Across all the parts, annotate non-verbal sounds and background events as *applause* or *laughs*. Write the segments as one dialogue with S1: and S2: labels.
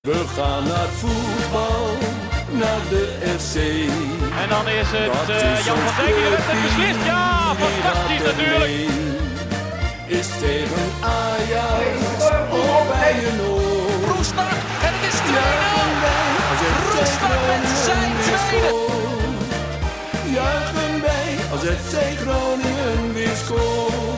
S1: We gaan naar voetbal, naar de FC.
S2: En dan is het
S1: Dat
S2: eh,
S1: is
S2: Jan
S1: ons
S2: van Dijk die de wedstrijd
S1: clubteam,
S2: beslist. Ja,
S1: wie
S2: fantastisch
S1: gaat er
S2: natuurlijk.
S1: mee? Is tegen Ajax of bij een oor.
S3: Roestak en het is 2-0.
S1: Als het
S3: Roestak met zijn tweede.
S1: Juichen wij als FC Groningen weer scoort.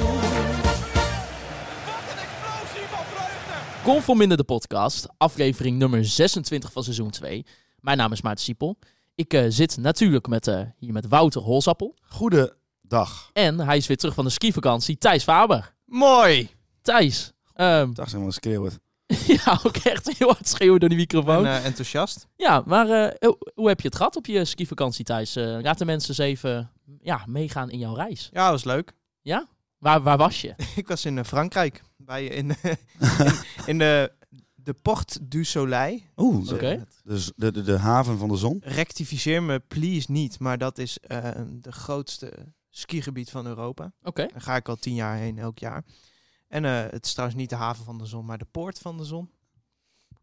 S4: Kom voor minder de podcast, aflevering nummer 26 van seizoen 2. Mijn naam is Maarten Siepel. Ik eh, zit natuurlijk met, eh, hier met Wouter Holsappel.
S5: Goedendag.
S4: En hij is weer terug van de skivakantie, Thijs Faber.
S6: Mooi.
S4: Thijs, ehm,
S5: Dag zijn we schreeuwt.
S4: *laughs* ja, ook echt heel hard schreeuwen door die microfoon.
S6: En, eh, enthousiast.
S4: Ja, maar eh, hoe- hoe heb je het gehad op je skivakantie, Thijs? Eh, laat de mensen eens even ja, meegaan in jouw reis.
S6: Ja, was leuk. *laughs*
S4: Waar, waar was je?
S6: Ik was in eh, Frankrijk. Bij, eh, in, *laughs* in, in de, de Port du Soleil.
S5: Oeh,
S4: Oké.
S5: dus de, de, de haven van de zon.
S6: Rectificeer me please niet, maar dat is eh, de grootste skigebied van Europa.
S4: Oké.
S6: Daar ga ik al tien jaar heen, elk jaar. En eh, het is trouwens niet de haven van de zon, maar de poort van de zon.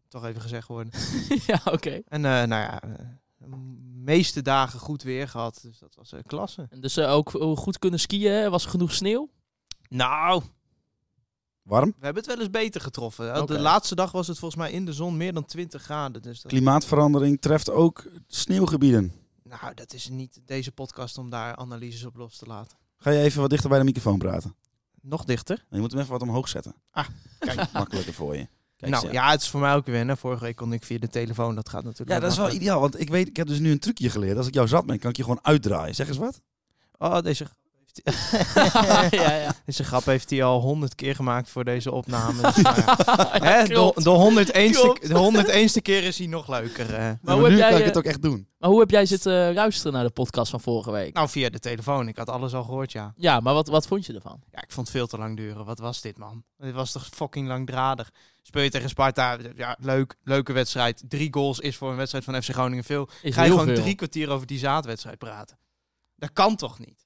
S6: Toch even gezegd worden.
S4: *laughs* ja, oké.
S6: En eh, nou ja, eh, de meeste dagen goed weer gehad, dus dat was eh, klasse.
S4: En Dus eh, ook goed kunnen skiën, was er genoeg
S6: *laughs*
S4: sneeuw? *laughs*
S6: Nou,
S5: Warm.
S6: We hebben het wel eens beter getroffen. Eh,
S4: Oké.
S6: De laatste dag was het volgens mij in de zon meer dan 20 graden. Dus dat,
S5: Klimaatverandering treft ook sneeuwgebieden.
S6: nou, dat is niet deze podcast om daar analyses op los te laten.
S5: Ga je even wat dichter bij de microfoon praten?
S6: Nog dichter.
S5: Je moet hem even wat omhoog zetten.
S6: Ah,
S5: kijk. *laughs* Makkelijker voor je. Kijk,
S6: nou
S5: zo.
S6: ja. het is voor mij ook wennen. Vorige week kon ik via de telefoon. Dat gaat natuurlijk.
S5: Ja, dat is wel ideaal, want ik weet, ik heb dus nu een trucje geleerd. Als ik jou zat ben, kan ik je gewoon uitdraaien. Zeg eens wat.
S6: makkelijker. Oh, deze,
S4: ja, ja.
S6: deze grap heeft hij al honderd keer gemaakt voor deze opname. Dus, nou ja. Hè, de,
S4: klopt.
S6: de, 101ste,
S4: Klopt.
S6: de 101ste keer is hij nog leuker. eh.
S4: Maar
S5: Ja,
S4: hoe heb
S5: nu
S4: jij,
S5: kan ik
S4: eh,
S5: het ook echt doen.
S4: Maar hoe heb jij zitten eh, luisteren naar de podcast van vorige week?
S6: Nou, via de telefoon. Ik had alles al gehoord, ja.
S4: Ja, maar wat, wat vond je ervan?
S6: Ja, ik vond het veel te lang duren. Wat was dit, man? Dit was toch fucking langdradig. Speel je tegen Sparta, ja, leuk, leuke wedstrijd. Drie goals is voor een wedstrijd van FC Groningen veel.
S4: Is
S6: Ga je
S4: heel
S6: gewoon
S4: veel.
S6: drie kwartier over die zaadwedstrijd praten? Dat kan toch niet?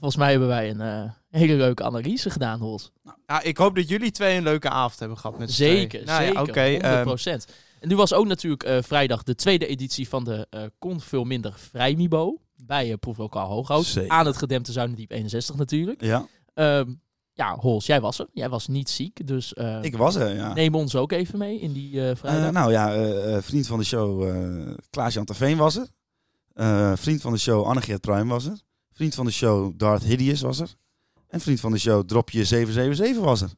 S4: Volgens mij hebben wij een eh, hele leuke analyse gedaan, Holt.
S6: Ja, ik hoop dat jullie twee een leuke avond hebben gehad met z'n
S4: Zeker,
S6: tweeën. Nou ja,
S4: zeker.
S6: Oké, ehm,
S4: 100%. en nu was ook natuurlijk eh, vrijdag de tweede editie van de eh Kon Veel Minder Vrijmibo. Bij eh, Proeflokaal Hooghout.
S5: Zeker.
S4: Aan het gedempte Zuidendiep 61 natuurlijk.
S5: Ja,
S4: Ehm, ja, Hols, jij was er. Jij was niet ziek, dus eh,
S5: ik was er, ja.
S4: neem ons ook even mee in die eh,
S5: Eh,
S6: Ehm,
S4: vrijdag.
S5: nou ja, eh, eh, vriend van de show eh Klaas-Jan Terveen was er. Eh, vriend van de show Annegeert Pruim was er. Vriend van de show Darth Hideous was er. En vriend van de show Dropje 777 was er.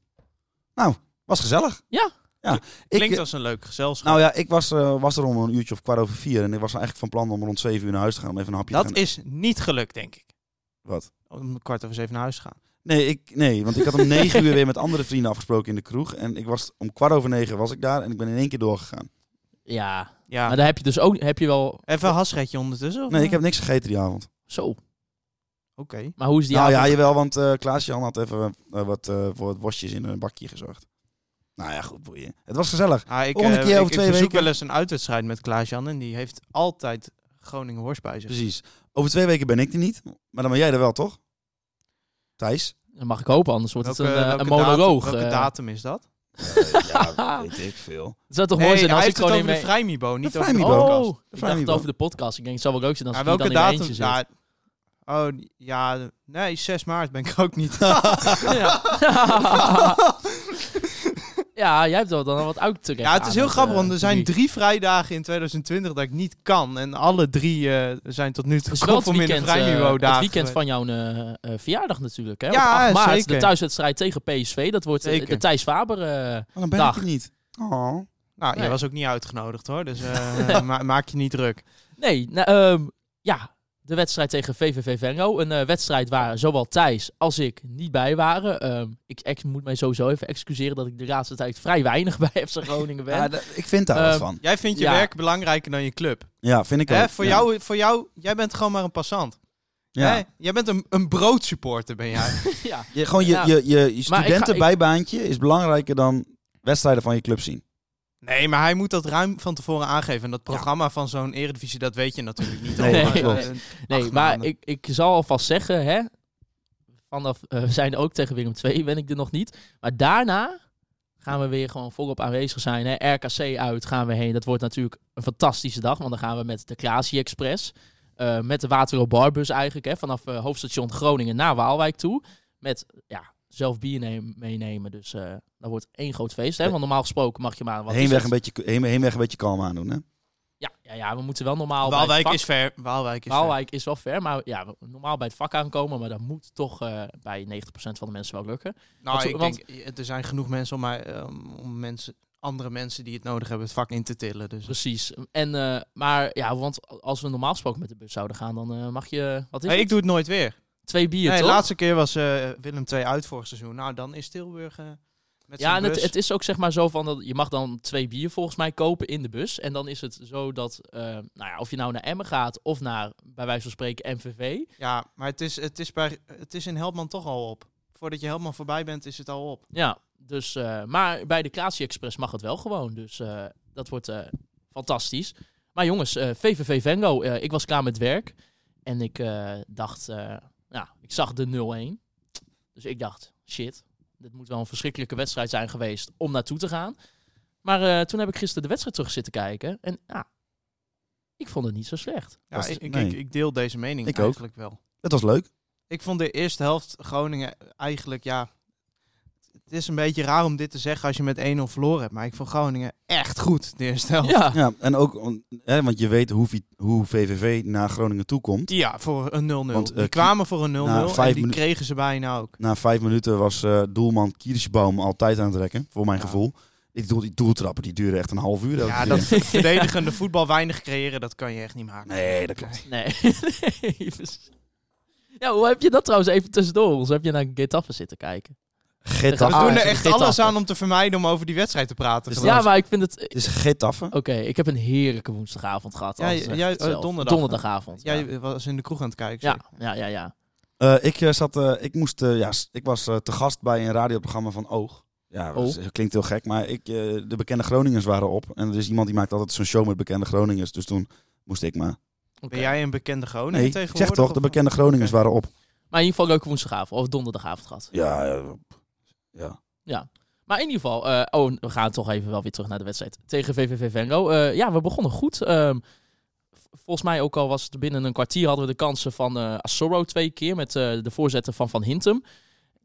S5: Nou, was gezellig.
S4: Ja.
S5: ja ik,
S4: eh,
S6: Klinkt als een leuk gezelschap.
S5: nou ja, ik was, eh, was er om een uurtje of kwart over vier. En ik was eigenlijk van plan om rond zeven uur naar huis te gaan. Om even een hapje te
S6: dat
S5: gaan.
S6: is niet gelukt, denk ik.
S5: Wat?
S6: Om kwart over zeven naar huis te gaan.
S5: Nee, ik, nee, want
S6: *laughs*
S5: ik had om negen uur weer met andere vrienden afgesproken in de kroeg. En ik was, om kwart over negen was ik daar. En ik ben in één keer doorgegaan.
S4: ja,
S6: Ja.
S4: maar daar heb je dus ook heb je wel...
S6: Even een hasretje ondertussen? Of
S5: Nee, ik heb niks gegeten die avond.
S4: Zo,
S6: Oké.
S4: maar hoe is die
S5: nou ja,
S4: avond?
S5: jawel, want eh Klaas-Jan had even eh, wat eh, voor het worstjes in een bakje gezorgd. Nou ja, goed, boeien. Het was gezellig.
S6: Ah, ik,
S5: Volgende
S6: eh,
S5: keer over
S6: ik,
S5: twee
S6: ik bezoek
S5: weken.
S6: wel eens een uitwedstrijd met Klaas-Jan en die heeft altijd Groningen worst bij zich.
S5: Precies. Over twee weken ben ik er niet, maar dan ben jij er wel, toch? Thijs?
S4: Dat mag ik hopen, anders wordt het een,
S6: Welke-
S4: eh,
S6: welke
S4: een monoloog.
S6: Datum, welke
S4: eh.
S6: datum is dat?
S5: Eh,
S4: *laughs*
S5: ja, weet ik veel.
S4: Het zou toch
S6: Nee,
S4: mooi zijn
S6: hij
S4: als ik
S6: heeft het
S4: gewoon
S6: over
S4: in
S6: de
S4: mee...
S6: vrijmibo, niet
S5: De
S6: over de
S5: Vrijmibo.
S6: podcast.
S4: Oh, ik dacht
S5: Vrijmibo.
S4: het over de podcast. Ik denk, het zou wel leuk zijn als
S6: Maar
S4: ik dan
S6: welke
S4: in mijn eentje
S6: datum?
S4: zit.
S6: Ja, oh, ja, nee, 6 maart ben ik ook
S4: *laughs*
S6: niet.
S4: Ja. *laughs* ja, jij hebt wel dan al wat uit te rekken
S6: ja, het is
S4: aan
S6: heel grappig,
S4: eh,
S6: want er zijn
S4: publiek.
S6: drie vrijdagen in 2020 dat ik niet kan. En alle drie eh, zijn tot nu toe
S4: Het is wel het
S6: conform in de
S4: weekend, eh,
S6: vrijmibo
S4: het
S6: dagen.
S4: weekend van jouw eh, eh, verjaardag natuurlijk. Hè?
S6: Ja,
S4: Op 8 maart, de
S6: zeker.
S4: thuiswedstrijd tegen PSV. Dat wordt eh,
S6: Zeker.
S4: de Thijs Faber. eh,
S5: Maar dan ben
S4: Dag.
S5: ik er niet. Oh.
S6: Nou,
S4: Nee.
S6: jij was ook niet uitgenodigd hoor, dus
S4: *laughs*
S6: eh, ma- maak je niet druk.
S4: nee, nou, ehm, ja, de wedstrijd tegen VVV Venlo. Een eh, wedstrijd waar zowel Thijs als ik niet bij waren. Ehm, ik ex- moet mij sowieso even excuseren dat ik de laatste tijd vrij weinig *laughs* bij FC Groningen ben.
S5: Ja, dat- ik vind daar wat
S4: Ehm,
S5: van.
S6: Jij vindt je
S4: Ja.
S6: werk belangrijker dan je club.
S5: Ja, vind ik ook.
S6: Hè? Voor,
S5: Ja.
S6: jou, voor jou, jij bent gewoon maar een passant.
S5: Ja.
S6: Hè? Jij bent een, een broodsupporter, ben
S4: *laughs*
S6: jij.
S4: ja.
S5: Je, gewoon je,
S4: Ja.
S5: je, je, je
S4: ga- ik-
S5: studentenbijbaantje is belangrijker dan wedstrijden van je club zien.
S6: Nee, maar hij moet dat ruim van tevoren aangeven. En dat programma van zo'n eredivisie, dat weet je natuurlijk niet.
S5: Nee,
S6: allemaal.
S5: klopt.
S6: Eh,
S4: *laughs* Nee,
S6: Acht
S4: maar
S6: maanden.
S4: ik, ik zal alvast zeggen, hè, vanaf eh, we zijn ook tegen Willem 2 ben ik er nog niet. Maar daarna Gaan we weer gewoon volop aanwezig zijn. Hè? RKC uit gaan we heen. Dat wordt natuurlijk een fantastische dag. Want dan gaan we met de Klasie Express. eh, met de Waterloo Barbus eigenlijk. Hè? Vanaf eh, hoofdstation Groningen naar Waalwijk toe. Met ja, zelf bier neem- meenemen. Dus eh dat wordt één groot feest. Hè? Want normaal gesproken mag je maar... Wat is
S5: Heenweg
S4: het?
S5: een, beetje, heen, heenweg een beetje kalm aandoen, hè?
S4: Ja, ja, ja, we moeten wel normaal... bij het
S6: Waalwijk
S4: vak-
S6: is ver. Waalwijk is eh, ver.
S4: Waalwijk is wel ver, maar ja, we- normaal bij het vak aankomen, maar dat moet toch eh, bij 90% van de mensen wel lukken.
S6: Nou,
S4: Want-
S6: ik denk, eh, er zijn genoeg mensen om, mij, eh, om mensen, andere mensen die het nodig hebben het vak in te tillen. Dus.
S4: Precies. En, eh, maar ja, want als we normaal gesproken met de bus zouden gaan, dan eh, mag je, wat is
S6: Hey,
S4: het?
S6: ik doe het nooit weer.
S4: Twee bier,
S6: Nee, de
S4: toch?
S6: laatste keer was eh, Willem 2 uit vorig seizoen. Nou, dan is Tilburg eh, met zijn
S4: Ja, en het,
S6: bus.
S4: het is ook zeg maar zo van, dat je mag dan twee bier volgens mij kopen in de bus. En dan is het zo dat, eh, nou ja, of je nou naar Emmen gaat of naar, bij wijze van spreken, MVV.
S6: Ja, maar het is, het, is bij, het is in Helpman toch al op. Voordat je helemaal voorbij bent, is het al op.
S4: Ja, dus, eh, maar bij de Klaasje Express mag het wel gewoon. Dus eh, dat wordt eh, fantastisch. Maar jongens, eh, VVV Vengo, eh, ik was klaar met werk. En ik eh, dacht, eh, ja, ik zag de 0-1. Dus ik dacht, shit, dit moet wel een verschrikkelijke wedstrijd zijn geweest om naartoe te gaan. Maar eh, toen heb ik gisteren de wedstrijd terug zitten kijken. En ja, ik vond het niet zo slecht.
S6: Ja,
S5: Was-
S6: ik, ik,
S5: nee.
S6: ik, ik deel deze mening
S5: Ik ook.
S6: eigenlijk wel.
S5: Dat was leuk.
S6: Ik vond de eerste helft Groningen eigenlijk, ja... Het is een beetje raar om dit te zeggen als je met 1-0 verloren hebt. Maar ik vond Groningen echt goed, de eerste helft.
S4: Ja,
S5: Ja, en ook, om- hè, want je weet hoe, vi- hoe VVV naar Groningen toe komt.
S6: Ja, voor een 0-0.
S5: Want, eh,
S6: die kwamen voor een 0-0
S5: na
S6: en
S5: vijf
S6: die
S5: minuten-
S6: kregen ze bijna ook.
S5: Na vijf minuten was eh, doelman Kirschbaum altijd aan het rekken, voor mijn
S6: Ja.
S5: gevoel. Die, doel, die doeltrappen die duren echt een half uur. elke
S6: Ja,
S5: keer.
S6: dat *laughs* verdedigende voetbal weinig creëren, dat kan je echt niet maken.
S5: Nee, dat klopt.
S4: nee. *laughs* nee. Ja, hoe heb je dat trouwens even tussendoor? Of heb je naar Getafe zitten kijken?
S5: Getafe.
S6: We doen
S4: Ah, ze
S6: er
S4: hebben
S6: echt
S4: dit
S6: alles
S4: achter.
S6: aan om te vermijden om over die wedstrijd te praten.
S5: Dus
S6: geloof
S4: Ja,
S6: ik.
S4: maar ik vind het. eh,
S5: Het is Getafe.
S4: Oké, ik heb een heerlijke woensdagavond gehad.
S6: Ja,
S4: anders zeg ik
S6: jij-
S4: het
S6: eh,
S4: zelf.
S6: donderdag, hè?
S4: Donderdagavond. Ja, ja.
S6: Jij was in de kroeg aan het kijken.
S4: Ja,
S6: sorry.
S4: ja, ja,
S5: Eh, ik, eh, zat, eh, ik, moest, eh, ja, s- ik was eh, te gast bij een radioprogramma van Oog. Ja, dat
S6: Oh.
S5: is- klinkt heel gek, maar ik, eh, de bekende Groningers waren op. En er is iemand die maakt altijd zo'n show met bekende Groningers. Dus toen moest ik maar...
S4: Oké.
S6: Ben jij een bekende Groningen
S5: Nee, ik
S6: Oh, tegenwoordig?
S5: zeg toch,
S6: of-
S5: de bekende Groningers
S6: Oké.
S5: waren op.
S4: Maar in ieder geval leuke woensdagavond of donderdagavond gehad.
S5: Ja, eh, ja.
S4: Maar in ieder geval, eh, oh, we gaan toch even wel weer terug naar de wedstrijd tegen VVV Venlo. Eh, ja, we begonnen goed. Ehm, v- volgens mij ook al was het binnen een kwartier hadden we de kansen van eh Assoro twee keer met eh, de voorzetten van Van Hintem.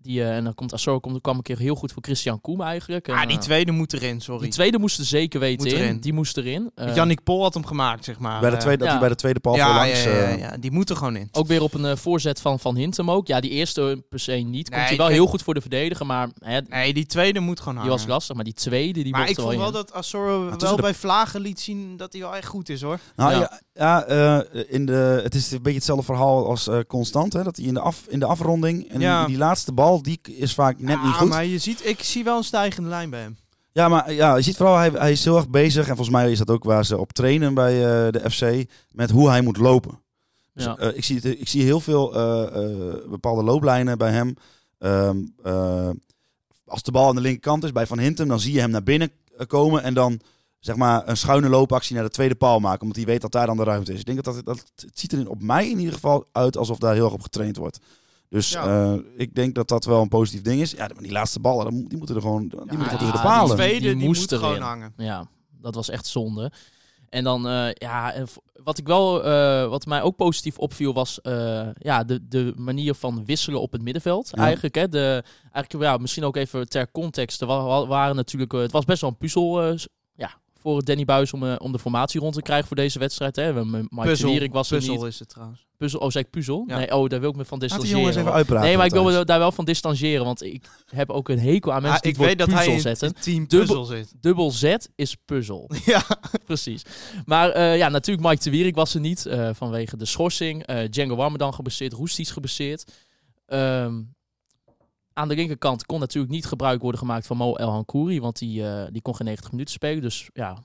S4: Die, eh, en dan komt Assoro komt, kwam een keer heel goed voor Christian Koem eigenlijk. En,
S6: Ah, die
S4: eh,
S6: tweede moet erin, sorry. Eh,
S4: die tweede moesten zeker weten
S6: Moet
S4: in.
S6: erin.
S4: Die moest erin. Eh,
S6: Jannik Pol had hem gemaakt, zeg maar.
S5: bij de
S6: Eh,
S5: tweede, Dat
S4: ja.
S5: hij bij de tweede paal
S6: ja,
S5: voorlangs...
S6: ja, ja,
S5: eh,
S6: ja, die moet er gewoon in.
S4: Ook weer op een eh, voorzet van Van Hintem ook. Ja, die eerste per se niet. Komt
S6: Nee,
S4: hij wel
S6: kijk-
S4: heel goed voor de verdediger, maar hè,
S6: Nee, die tweede moet gewoon
S4: die
S6: hangen.
S4: was lastig. Maar die tweede, die
S6: maar
S4: mocht
S6: ik
S4: er
S6: vond
S4: wel
S6: wel
S4: in.
S6: dat Assoro
S5: tussen
S6: wel
S5: de-
S6: bij Vlagen liet zien dat hij wel echt goed is, hoor.
S5: Nou
S4: Ja.
S5: ja, ja, eh, in de, het is een beetje hetzelfde verhaal als eh, Constant. Hè, dat hij in de, af, in de afronding en
S6: Ja.
S5: die laatste bal, die is vaak net niet
S6: Ah,
S5: goed.
S6: maar je ziet, ik zie wel een stijgende lijn bij hem.
S5: Ja, maar ja, je ziet vooral, hij, hij is heel erg bezig. En volgens mij is dat ook waar ze op trainen bij eh, de FC. Met hoe hij moet lopen. Dus,
S4: Ja.
S5: eh, ik, zie, het- ik zie heel veel eh, eh, bepaalde looplijnen bij hem. Ehm, eh, als de bal aan de linkerkant is bij Van Hintem, dan zie je hem naar binnen eh, komen. En dan zeg maar een schuine loopactie naar de tweede paal maken. Omdat hij weet dat daar dan de ruimte is. Ik denk dat, dat, dat het ziet er op mij in ieder geval uit alsof daar heel erg op getraind wordt. Dus
S6: Ja.
S5: eh, ik denk dat dat wel een positief ding is. Ja, maar die laatste ballen, dan moet- die moeten er gewoon, die moeten
S4: die-
S5: gewoon tussen de
S4: die
S5: palen.
S6: De tweede,
S4: Die
S6: die,
S4: moest
S6: moet
S4: erin.
S6: gewoon hangen.
S4: Ja, dat was echt zonde. En dan, eh, ja, en v- wat, ik wel, eh, wat mij ook positief opviel was eh, ja, de, de manier van wisselen op het middenveld.
S5: Ja.
S4: Eigenlijk, hè, de, eigenlijk ja, misschien ook even ter context. Er wa- wa- waren natuurlijk, eh, het was best wel een puzzel eh, s- ja, voor Danny Buis om, eh, om de formatie rond te krijgen voor deze wedstrijd. Hè. We- M- Mike
S6: Puzzel.
S4: Wierik was er
S6: Puzzel
S4: niet.
S6: is het trouwens.
S4: Puzzel, oh, zei ik puzzel?
S6: Ja.
S4: Nee, oh, daar wil ik me van
S5: Laat die
S4: distancieren.
S5: jongens even
S4: want-
S5: uitpraten.
S4: Nee, maar ik wil
S5: Matthijs.
S4: me daar wel van distancieren, want ik heb ook een hekel aan mensen
S6: Ah,
S4: die
S6: ik
S4: het woord
S6: weet dat hij
S4: puzzel
S6: in
S4: zetten.
S6: het team
S4: Dubbel-
S6: puzzel zit. *laughs*
S4: Dubbel Z is puzzel, *laughs*
S6: Ja.
S4: precies. Maar eh, ja, natuurlijk Mike de Wierik was er niet eh, vanwege de schorsing. eh Django Warmedan geblesseerd, Roesties geblesseerd. Ehm, aan de linkerkant kon natuurlijk niet gebruik worden gemaakt van Mo El Hankouri, want die, eh, die kon geen 90 minuten spelen. Dus ja,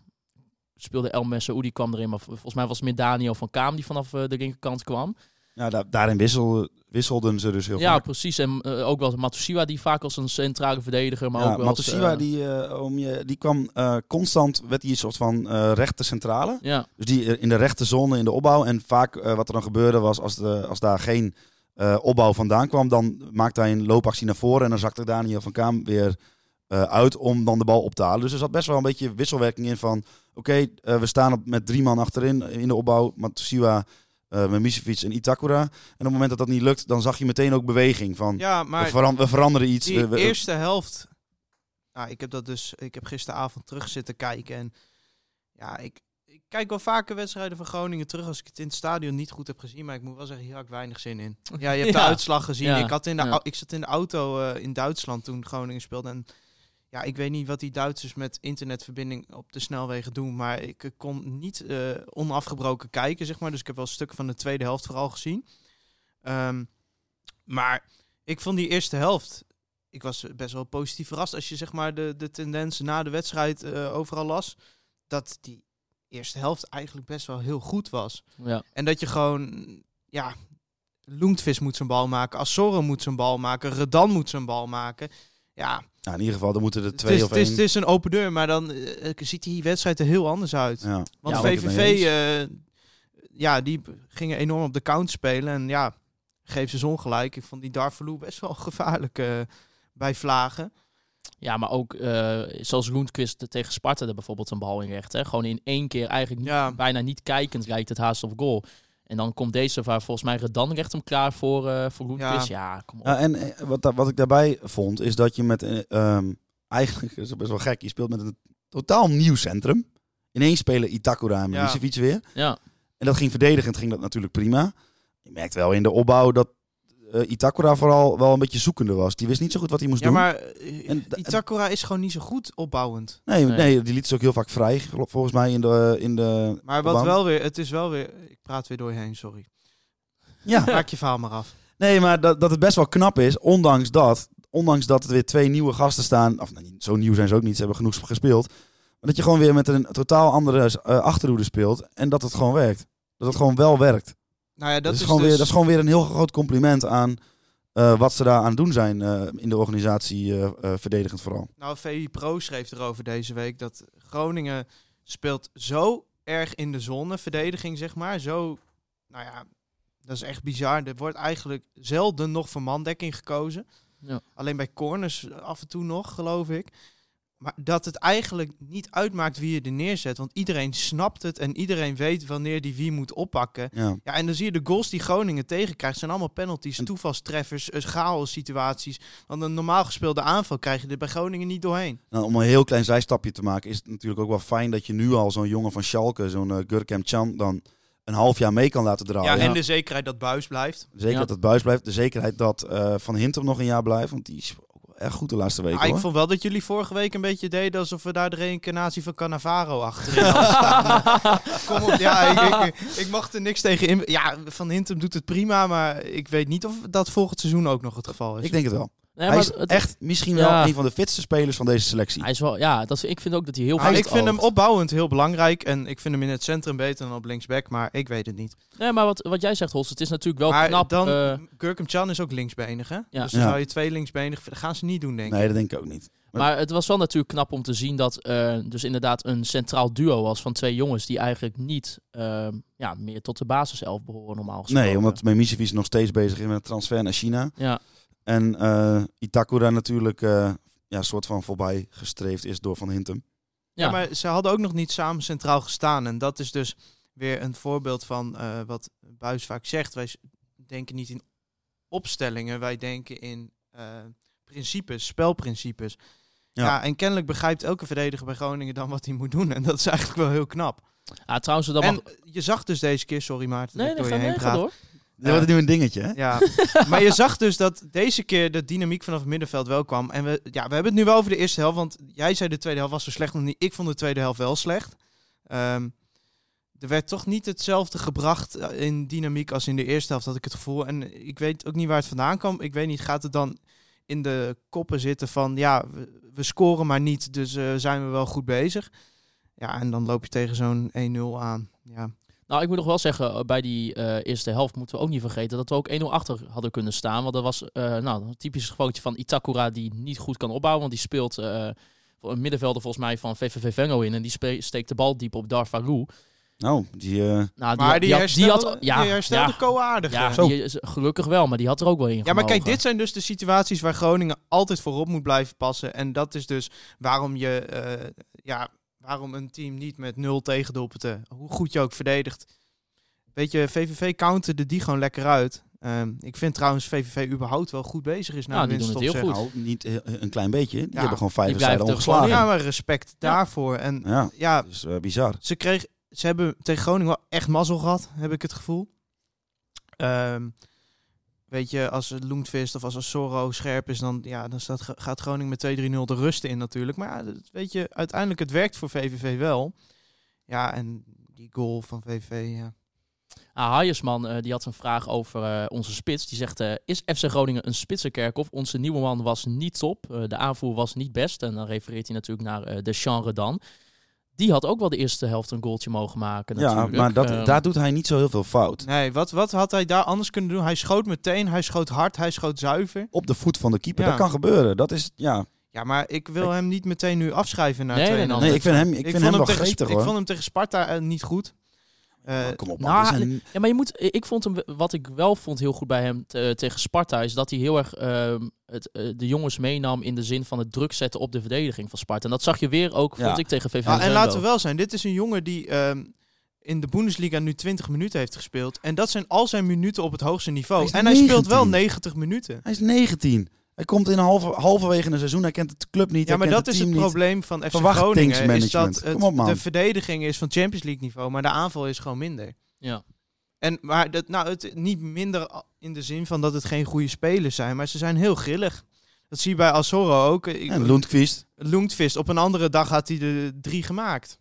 S4: speelde El Messaoudi kwam erin, maar v- volgens mij was het meer Daniel van Kaam die vanaf eh, de linkerkant kwam.
S5: Ja, da- daarin wissel- wisselden ze dus heel
S4: Ja,
S5: vaak.
S4: precies. En eh, ook wel Matusiwa, die vaak als een centrale verdediger, maar
S5: ja,
S4: ook wel als,
S5: Matosiwa,
S4: eh,
S5: die, eh, om je, die kwam eh, constant, werd hij een soort van eh rechter centrale.
S4: Ja,
S5: Dus die eh, in de rechte zone in de opbouw. En vaak eh, wat er dan gebeurde was, als, de, als daar geen eh, opbouw vandaan kwam, dan maakte hij een loopactie naar voren. En dan zakte Daniel van Kaam weer eh, uit om dan de bal op te halen. Dus er zat best wel een beetje wisselwerking in van... Oké, eh, we staan op, met drie man achterin eh, in de opbouw. Matsuwa, eh Mimicevic en Itakura. En op het moment dat dat niet lukt, dan zag je meteen ook beweging. Van,
S6: Ja,
S5: we,
S6: maar
S5: veran- we veranderen iets.
S6: die
S5: we- we-
S6: eerste helft... Nou, ik heb dat dus... Ik heb gisteravond terug zitten kijken en... Ja, ik, ik kijk wel vaker wedstrijden van Groningen terug als ik het in het stadion niet goed heb gezien. Maar ik moet wel zeggen, hier had ik weinig zin
S5: *laughs*
S6: in. Ja, je hebt
S4: Ja.
S6: de uitslag gezien.
S4: Ja,
S6: Ik, had in de,
S4: ja.
S6: au- ik zat in de auto eh, in Duitsland toen Groningen speelde. En ja, ik weet niet wat die Duitsers met internetverbinding op de snelwegen doen. Maar ik eh, kon niet eh, onafgebroken kijken, zeg maar. Dus ik heb wel stukken van de tweede helft vooral gezien. Ehm, maar ik vond die eerste helft... Ik was best wel positief verrast als je zeg maar de, de tendens na de wedstrijd eh, overal las. Dat die eerste helft eigenlijk best wel heel goed was.
S4: Ja.
S6: En dat je gewoon, ja, Loentvis moet zijn bal maken, Assoren moet zijn bal maken, Redan moet zijn bal maken. Ja,
S5: Nou, in ieder geval, dan moeten er
S6: het
S5: twee
S6: is,
S5: of
S6: het, is,
S5: één...
S6: het is een open deur, maar dan eh, ziet die wedstrijd er heel anders uit.
S5: Ja.
S6: Want
S5: Ja, ben ik het mee
S6: VVV,
S5: eens.
S6: eh, ja, die b- gingen enorm op de count spelen en ja, geef ze zon gelijk. Ik vond die Darvalu best wel *laughs* gevaarlijk eh, bij vlagen.
S4: Ja, maar ook eh, zoals Roentquist tegen Sparta er bijvoorbeeld een bal in recht. Hè? Gewoon in één keer eigenlijk
S6: Ja.
S4: niet, bijna niet kijkend lijkt het haast op goal. En dan komt deze waar volgens mij Redan recht hem klaar voor, eh voor Roentquist. Ja. kom op.
S5: Ja, en eh, wat, da- wat ik daarbij vond, is dat je met... eh, ehm, eigenlijk, *laughs* dat is best wel gek, je speelt met een totaal nieuw centrum. Ineens spelen Itakura en
S6: Ja.
S5: Milicevic weer.
S4: Ja.
S5: En dat ging verdedigend, ging dat natuurlijk prima. Je merkt wel in de opbouw dat eh, Itakura vooral wel een beetje zoekende was. Die wist niet zo goed wat hij moest
S6: Ja,
S5: Dus doen.
S6: maar eh,
S5: En da-
S6: Itakura is gewoon niet zo goed opbouwend.
S5: Nee,
S4: Nee.
S5: nee. die liet ze ook heel vaak vrij, gelo- volgens mij, in de... In de
S6: Maar wat
S5: opbouw.
S6: wel weer, het is wel weer, ik praat weer door je heen,
S5: *laughs*
S6: sorry.
S5: Ja,
S6: Maak je verhaal maar af.
S5: Nee, maar dat, dat het best wel knap is, ondanks dat. Ondanks dat er weer twee nieuwe gasten staan. Of nou, niet- zo nieuw zijn ze ook niet, ze hebben genoeg gespeeld. Maar dat je gewoon weer met een totaal andere eh, achterhoede speelt. En dat het gewoon werkt. Dat het gewoon wel werkt. Dat,
S6: Nou ja, dat,
S5: is,
S6: is,
S5: gewoon
S6: dus,
S5: weer, dat is gewoon weer een heel groot compliment aan eh, wat ze daar aan het doen zijn eh, in de organisatie, eh, eh, verdedigend vooral.
S6: Nou, VI Pro schreef erover deze week dat Groningen speelt zo erg in de zone, verdediging zeg maar, zo, nou ja, dat is echt bizar. Er wordt eigenlijk zelden nog voor mandekking gekozen.
S4: Ja.
S6: Alleen bij corners af en toe nog, geloof ik. Maar dat het eigenlijk niet uitmaakt wie je er neerzet, want iedereen snapt het en iedereen weet wanneer die wie moet oppakken.
S5: Ja.
S6: Ja, en dan zie je de goals die Groningen tegenkrijgt. zijn allemaal penalties,
S5: En-
S6: toevalstreffers, eh, chaos situaties. Want een normaal gespeelde aanval krijg je er bij Groningen niet doorheen.
S5: Nou, om een heel klein zijstapje te maken, is het natuurlijk ook wel fijn dat je nu al zo'n jongen van Schalke, zo'n eh, Gurkem Chan, dan een half jaar mee kan laten draaien.
S6: ja, en de zekerheid dat Buis blijft.
S5: Zeker
S4: Ja.
S5: dat het buis blijft. De zekerheid dat eh, Van Hintem nog een jaar blijft. Want die is ook wel echt goed de laatste weken.
S6: Ah, ik
S5: hoor.
S6: vond wel dat jullie vorige week een beetje deden alsof we daar de reïncarnatie van Cannavaro achterin *laughs* hadden staan. Kom op, ja, ik, ik, ik mag er niks tegen in. Ja, Van Hintem doet het prima, maar ik weet niet of dat volgend seizoen ook nog het geval is.
S5: Ik denk het wel.
S4: Nee,
S5: hij
S4: maar
S5: is
S4: het-
S5: echt misschien
S4: Ja.
S5: wel een van de fitste spelers van deze selectie.
S4: hij is wel, ja dat, ik vind ook dat hij heel Oh.
S6: Maar
S4: goed
S6: Ah, ik vind hem
S4: oogt.
S6: opbouwend heel belangrijk en ik vind hem in het centrum beter dan op linksback, maar ik weet het niet.
S4: Nee, maar wat, wat jij zegt, Hols, het is natuurlijk wel
S6: maar
S4: knap.
S6: dan,
S4: eh,
S6: Gurkum Chan is ook linksbenig, hè? Dus dan
S5: Ja.
S6: zou je twee linksbenig... Dat gaan ze niet doen, denk ik.
S5: nee, dat denk ik ook niet.
S4: Maar het was wel natuurlijk knap om te zien dat eh, dus inderdaad een centraal duo was van twee jongens die eigenlijk niet eh, ja, meer tot de basiself behoren normaal gesproken.
S5: Nee, omdat Memicevic nog steeds bezig is met een transfer naar China.
S4: Ja,
S5: En eh, Itakura natuurlijk eh ja, soort van voorbij gestreefd is door Van Hintem.
S4: ja.
S6: Ja, maar ze hadden ook nog niet samen centraal gestaan. En dat is dus weer een voorbeeld van eh, wat Buis vaak zegt. Wij s- denken niet in opstellingen, wij denken in eh, principes, spelprincipes. Ja.
S5: Ja.
S6: en kennelijk begrijpt elke verdediger bij Groningen dan wat hij moet doen. En dat is eigenlijk wel heel knap.
S4: Ah, trouwens, dat
S6: en
S4: mag...
S6: je zag dus deze keer, sorry Maarten,
S4: Nee,
S6: dat ik
S4: nee,
S6: door
S4: ga,
S6: je heen
S4: nee, ga
S6: praat.
S4: door.
S5: Dat wordt nu een dingetje, hè?
S4: *laughs*
S6: Ja, maar je zag dus dat deze keer de dynamiek vanaf het middenveld wel kwam. En we, ja, we hebben het nu wel over de eerste helft, want jij zei de tweede helft was zo slecht nog niet. Ik vond de tweede helft wel slecht. Ehm, er werd toch niet hetzelfde gebracht eh, in dynamiek als in de eerste helft, had ik het gevoel. En ik weet ook niet waar het vandaan kwam. Ik weet niet, gaat het dan in de koppen zitten van, ja, we, we scoren maar niet, dus eh, zijn we wel goed bezig. Ja, en dan loop je tegen zo'n 1-0 aan. Ja.
S4: Nou, ik moet nog wel zeggen, eh, bij die eh, eerste helft moeten we ook niet vergeten dat we ook 1-0 achter hadden kunnen staan. Want dat was eh, nou, een typisch gevaltje van Itakura die niet goed kan opbouwen. Want die speelt eh, voor een middenvelder volgens mij van VVV Venlo in. En die spe- steekt de bal diep op Darvaru.
S5: Nou, die... eh,
S4: Nou,
S6: Maar die,
S4: had-
S6: herstelde,
S4: had-
S6: ja, die herstelde
S4: ja,
S6: Ko aardig.
S4: ja,
S6: eh.
S4: die is- gelukkig wel, maar die had er ook wel in
S6: Ja, maar kijk,
S4: gemogen.
S6: dit zijn dus de situaties waar Groningen altijd voorop moet blijven passen. En dat is dus waarom je, eh, ja, waarom een team niet met nul tegendoelpunten, hoe goed je ook verdedigt. Weet je, VVV counterde die gewoon lekker uit. Ehm, ik vind trouwens VVV überhaupt wel goed bezig is na
S4: Ja,
S6: de
S4: die doen het heel
S6: winststop. zeg.
S4: goed.
S5: Nou, niet heel- een klein beetje. Die
S6: Ja,
S5: hebben gewoon vijf
S4: die blijft
S5: wedstrijden
S4: er gewoon
S5: ongeslagen.
S6: Ja,
S5: Ja,
S6: maar respect daarvoor. En ja,
S5: dus eh, bizar.
S6: ze, kreeg, ze hebben tegen Groningen wel echt mazzel gehad, heb ik het gevoel. Ehm, weet je, als Loentvist of als Assoro scherp is, dan, ja, dan staat, gaat Groningen met 2-3-0 de rust in natuurlijk. Maar ja, dat- weet je, uiteindelijk het werkt voor VVV wel. Ja, en die goal van VVV, ja.
S4: Ah, Haaiersman, eh, die had een vraag over eh, onze spits. Die zegt, eh, is FC Groningen een spitsenkerkhof? Onze nieuwe man was niet top. Eh, de aanvoer was niet best. En dan refereert hij natuurlijk naar eh de genre dan. Die had ook wel de eerste helft een goaltje mogen maken
S5: Ja,
S4: natuurlijk.
S5: maar dat,
S4: Ehm,
S5: daar doet hij niet zo heel veel fout.
S6: Nee, wat, wat had hij daar anders kunnen doen? Hij schoot meteen, hij schoot hard, hij schoot zuiver.
S5: Op de voet van de keeper,
S6: Ja.
S5: dat kan gebeuren. Dat is, ja.
S6: Ja, maar ik wil hem niet meteen nu afschrijven naar
S4: Nee, nee, nee,
S5: Nee, ik vind hem, ik
S6: Ik,
S5: vind
S6: vond hem
S5: hem wel
S6: tegen, Sp-
S5: gretig,
S6: ik
S5: hoor.
S6: vond hem tegen Sparta eh, niet goed. Eh,
S5: Kom op,
S4: Nou,
S5: man. dit zijn-
S4: Ja, maar je moet, eh, ik vond hem, wat ik wel vond heel goed bij hem te- eh, tegen Sparta, is dat hij heel erg ehm, het, eh, de jongens meenam in de zin van het druk zetten op de verdediging van Sparta. En dat zag je weer ook,
S5: Ja.
S4: vond ik, tegen VVV.
S6: Ah, en
S4: Venlo.
S6: laten we wel zijn, dit is een jongen die ehm, in de Bundesliga nu 20 minuten heeft gespeeld. En dat zijn al zijn minuten op het hoogste niveau.
S5: Hij is
S6: en hij speelt wel
S5: 19.
S6: 90 minuten.
S5: Hij is 19. Hij komt in halve, halverwege een seizoen. Hij kent de club niet.
S6: Ja, maar
S5: hij
S6: dat
S5: kent
S6: is
S5: team
S6: het
S5: niet.
S6: probleem van FC Groningen. Is dat
S5: Verwachtingsmanagement.
S6: het,
S5: Kom op, man.
S6: de verdediging is van Champions League niveau, maar de aanval is gewoon minder.
S4: Ja.
S6: En, maar dat, nou, het, niet minder a- in de zin van dat het geen goede spelers zijn, maar ze zijn heel grillig. Dat zie je bij Azorro ook. Ik-
S5: En Lundqvist.
S6: Lundqvist, op een andere dag had hij er drie gemaakt.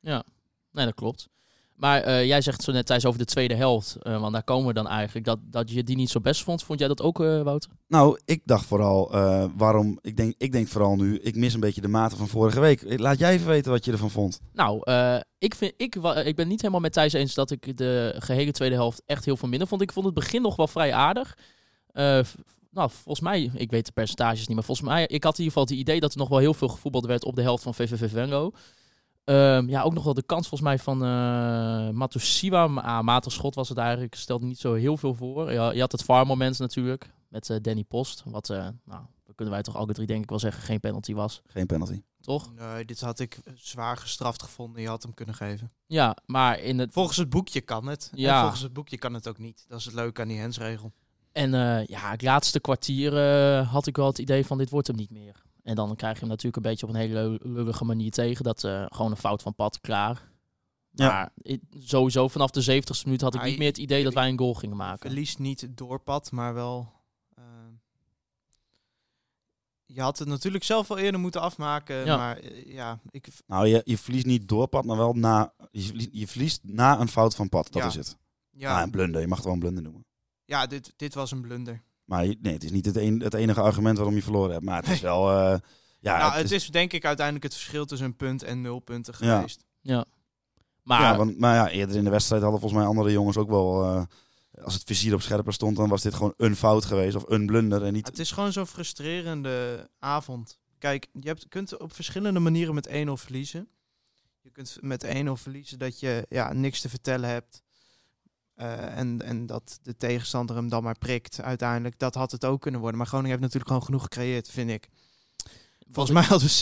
S4: Nee, dat klopt. Maar eh, jij zegt zo net Thijs over de tweede helft, eh, want daar komen we dan eigenlijk, dat, dat je die niet zo best vond. Vond jij dat ook, eh, Wouter?
S5: Nou, ik dacht vooral eh, waarom. Ik denk, ik denk vooral nu. Ik mis een beetje de mate van vorige week. Laat jij even weten wat je ervan vond.
S4: Nou, eh, ik, vind, ik, wa- ik ben niet helemaal met Thijs eens dat ik de gehele tweede helft echt heel veel minder vond. Ik vond het begin nog wel vrij aardig. Eh, v- nou, volgens mij, ik weet de percentages niet, maar volgens mij, ik had in ieder geval het idee dat er nog wel heel veel gevoetbald werd op de helft van VVV Venlo. Ehm, ja, ook nog wel de kans volgens mij van eh Matusiwa. Maar ah, matig schot was het eigenlijk. Stelde niet zo heel veel voor. Ja, je had het VAR moment natuurlijk met eh, Danny Post. Wat, eh, nou, dat kunnen wij toch alle drie denk ik wel zeggen, geen penalty was.
S5: Geen penalty.
S4: Toch?
S6: Nee, dit had ik zwaar gestraft gevonden. Je had hem kunnen geven.
S4: Ja, maar in het
S6: Volgens het boekje kan het.
S4: Ja.
S6: En volgens het boekje kan het ook niet. Dat is het leuke aan die hensregel.
S4: En eh, ja, het laatste kwartier eh, had ik wel het idee van dit wordt hem niet meer. En dan krijg je hem natuurlijk een beetje op een hele lullige manier tegen. Dat eh, gewoon een fout van pad, klaar.
S5: Ja.
S4: Maar ik- sowieso vanaf de 70ste minuut had ik
S6: Maar
S4: niet
S6: je-
S4: meer het idee dat wij een goal gingen maken.
S6: Verlies niet doorpad, maar wel... eh, je had het natuurlijk zelf al eerder moeten afmaken.
S4: Ja.
S6: Maar eh, ja, ik,
S5: Nou, je, je verliest niet door pad, maar wel na. Je, verlie- je verliest na een fout van pad. Dat
S6: Ja.
S5: is het. Ja.
S6: ja,
S5: een blunder. Je mag het wel een blunder noemen.
S6: ja dit, dit was een blunder.
S5: Maar je- nee, het is niet het, een- het enige argument waarom je verloren hebt. Maar het is wel. eh, ja,
S6: nou,
S5: het
S6: het is denk ik uiteindelijk het verschil tussen een punt en nul punten
S5: Ja.
S6: geweest.
S4: Maar
S5: ja, want, maar ja, eerder in de wedstrijd hadden volgens mij andere jongens ook wel. eh, als het vizier op scherper stond, dan was dit gewoon een fout geweest of een blunder. En niet.
S6: Het is gewoon zo'n frustrerende avond. Kijk, je hebt, kunt op verschillende manieren met 1-0 verliezen. Je kunt met 1-0 verliezen dat je ja, niks te vertellen hebt. Eh, en, en dat de tegenstander hem dan maar prikt uiteindelijk. Dat had het ook kunnen worden. Maar Groningen heeft natuurlijk gewoon genoeg gecreëerd, vind ik. Volgens mij hadden we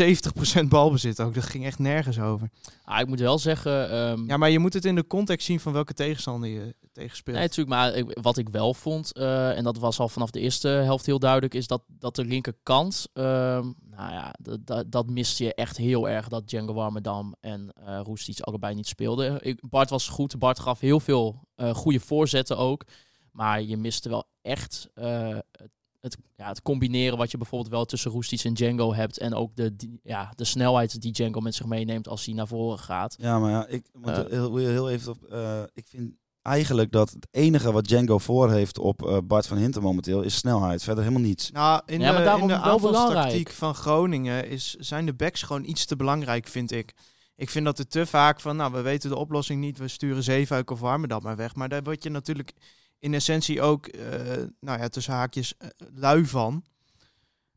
S6: 70% balbezit ook. Dat ging echt nergens over.
S4: ah, ik moet wel zeggen... ehm,
S6: Ja, maar je moet het in de context zien van welke tegenstander je tegenspeelt.
S4: Nee, natuurlijk. Maar ik- wat ik wel vond, eh, en dat was al vanaf de eerste helft heel duidelijk, is dat, dat de linkerkant, ehm, nou ja, dat- dat- dat miste je echt heel erg dat Django Warmerdam en eh Roestic allebei niet speelden. Ik, Bart was goed, Bart gaf heel veel eh, goede voorzetten ook, maar je miste wel echt eh, het, het- ja, het combineren wat je bijvoorbeeld wel tussen Roestic en Django hebt en ook de, die- ja, de snelheid die Django met zich meeneemt als hij naar voren gaat.
S5: Ja, maar ja, ik moet
S4: Eh.
S5: er heel, heel even op. eh, ik vind eigenlijk dat het enige wat Django voor heeft op eh, Bart van Hinten momenteel is snelheid. Verder helemaal niets.
S6: Nou, in
S4: Ja, maar
S6: de,
S4: daarom
S6: in de
S4: wel belangrijk.
S6: aanvalstactiek van Groningen is, zijn de backs gewoon iets te belangrijk, vind ik. Ik vind dat er te vaak van, nou, we weten de oplossing niet, we sturen Zeefuik of Warmerdam maar weg. Maar daar word je natuurlijk in essentie ook, eh, nou ja, tussen haakjes, eh, lui van.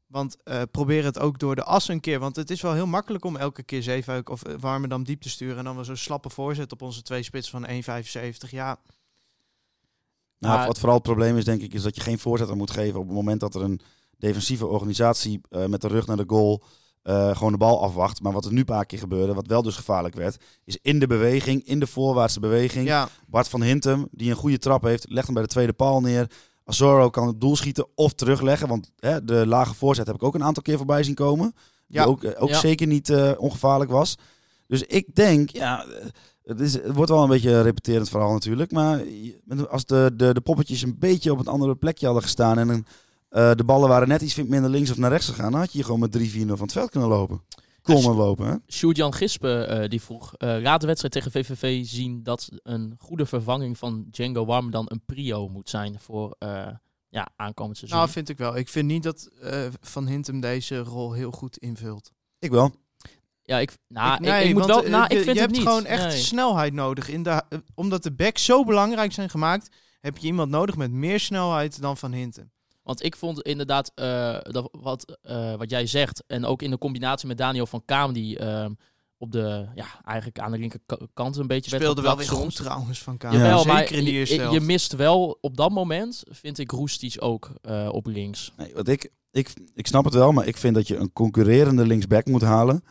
S6: Want eh, probeer het ook door de as een keer. Want het is wel heel makkelijk om elke keer Zeefuik of eh, Warmerdam diep te sturen. En dan wel zo'n slappe voorzet op onze twee spitsen van 1,75. Ja,
S5: Nou,
S4: Maar-
S5: wat vooral het probleem is, denk ik, is dat je geen voorzetter moet geven op het moment dat er een defensieve organisatie eh, met de rug naar de goal eh, gewoon de bal afwacht. Maar wat er nu een paar keer gebeurde, wat wel dus gevaarlijk werd, is in de beweging, in de voorwaartse beweging.
S6: ja,
S5: Bart van Hintem, die een goede trap heeft, legt hem bij de tweede paal neer. Azoro kan het doel schieten of terugleggen, want hè, de lage voorzet heb ik ook een aantal keer voorbij zien komen.
S6: Ja.
S5: Die ook, eh, ook
S4: Ja.
S5: zeker niet eh, ongevaarlijk was. Dus ik denk, ja, eh, het, is, het wordt wel een beetje een repeterend verhaal natuurlijk. Maar je- met- als de, de, de poppetjes een beetje op een andere plekje hadden gestaan en een, eh, de ballen waren net iets minder links of naar rechts gegaan, dan had je hier gewoon met 3-4 van het veld kunnen lopen. Komen lopen, hè?
S4: Sjoerd-Jan Gispen eh, die vroeg, eh, laat de wedstrijd tegen VVV zien dat een goede vervanging van Django Warm dan een prio moet zijn voor eh, ja, aankomend seizoen.
S6: nou vind ik wel. Ik vind niet dat eh, Van Hintem deze rol heel goed invult.
S5: Ik wel.
S4: ja, ik, nou, ik,
S6: nee,
S4: ik moet
S6: want,
S4: wel,
S6: eh,
S4: nou, ik
S6: je-
S4: vind
S6: je
S4: het
S6: hebt
S4: niet.
S6: gewoon echt
S4: Nee.
S6: snelheid nodig. In de, eh, omdat de backs zo belangrijk zijn gemaakt, heb je iemand nodig met meer snelheid dan Van Hintem.
S4: Want ik vond inderdaad eh, dat wat, eh, wat jij zegt. En ook in de combinatie met Daniel van Kaam, die ehm, op de, ja, eigenlijk aan de linkerkant een beetje werd
S6: Speelde wel weer
S4: geplakt
S6: goed
S4: soms.
S6: trouwens van Kaan.
S4: Jawel,
S6: Zeker
S4: maar
S6: in de eerste
S4: je, je
S6: helft.
S4: mist wel op dat moment, vind ik Roestic ook eh, op links.
S5: Nee, want ik, ik, ik snap het wel, maar ik vind dat je een concurrerende linksback moet halen.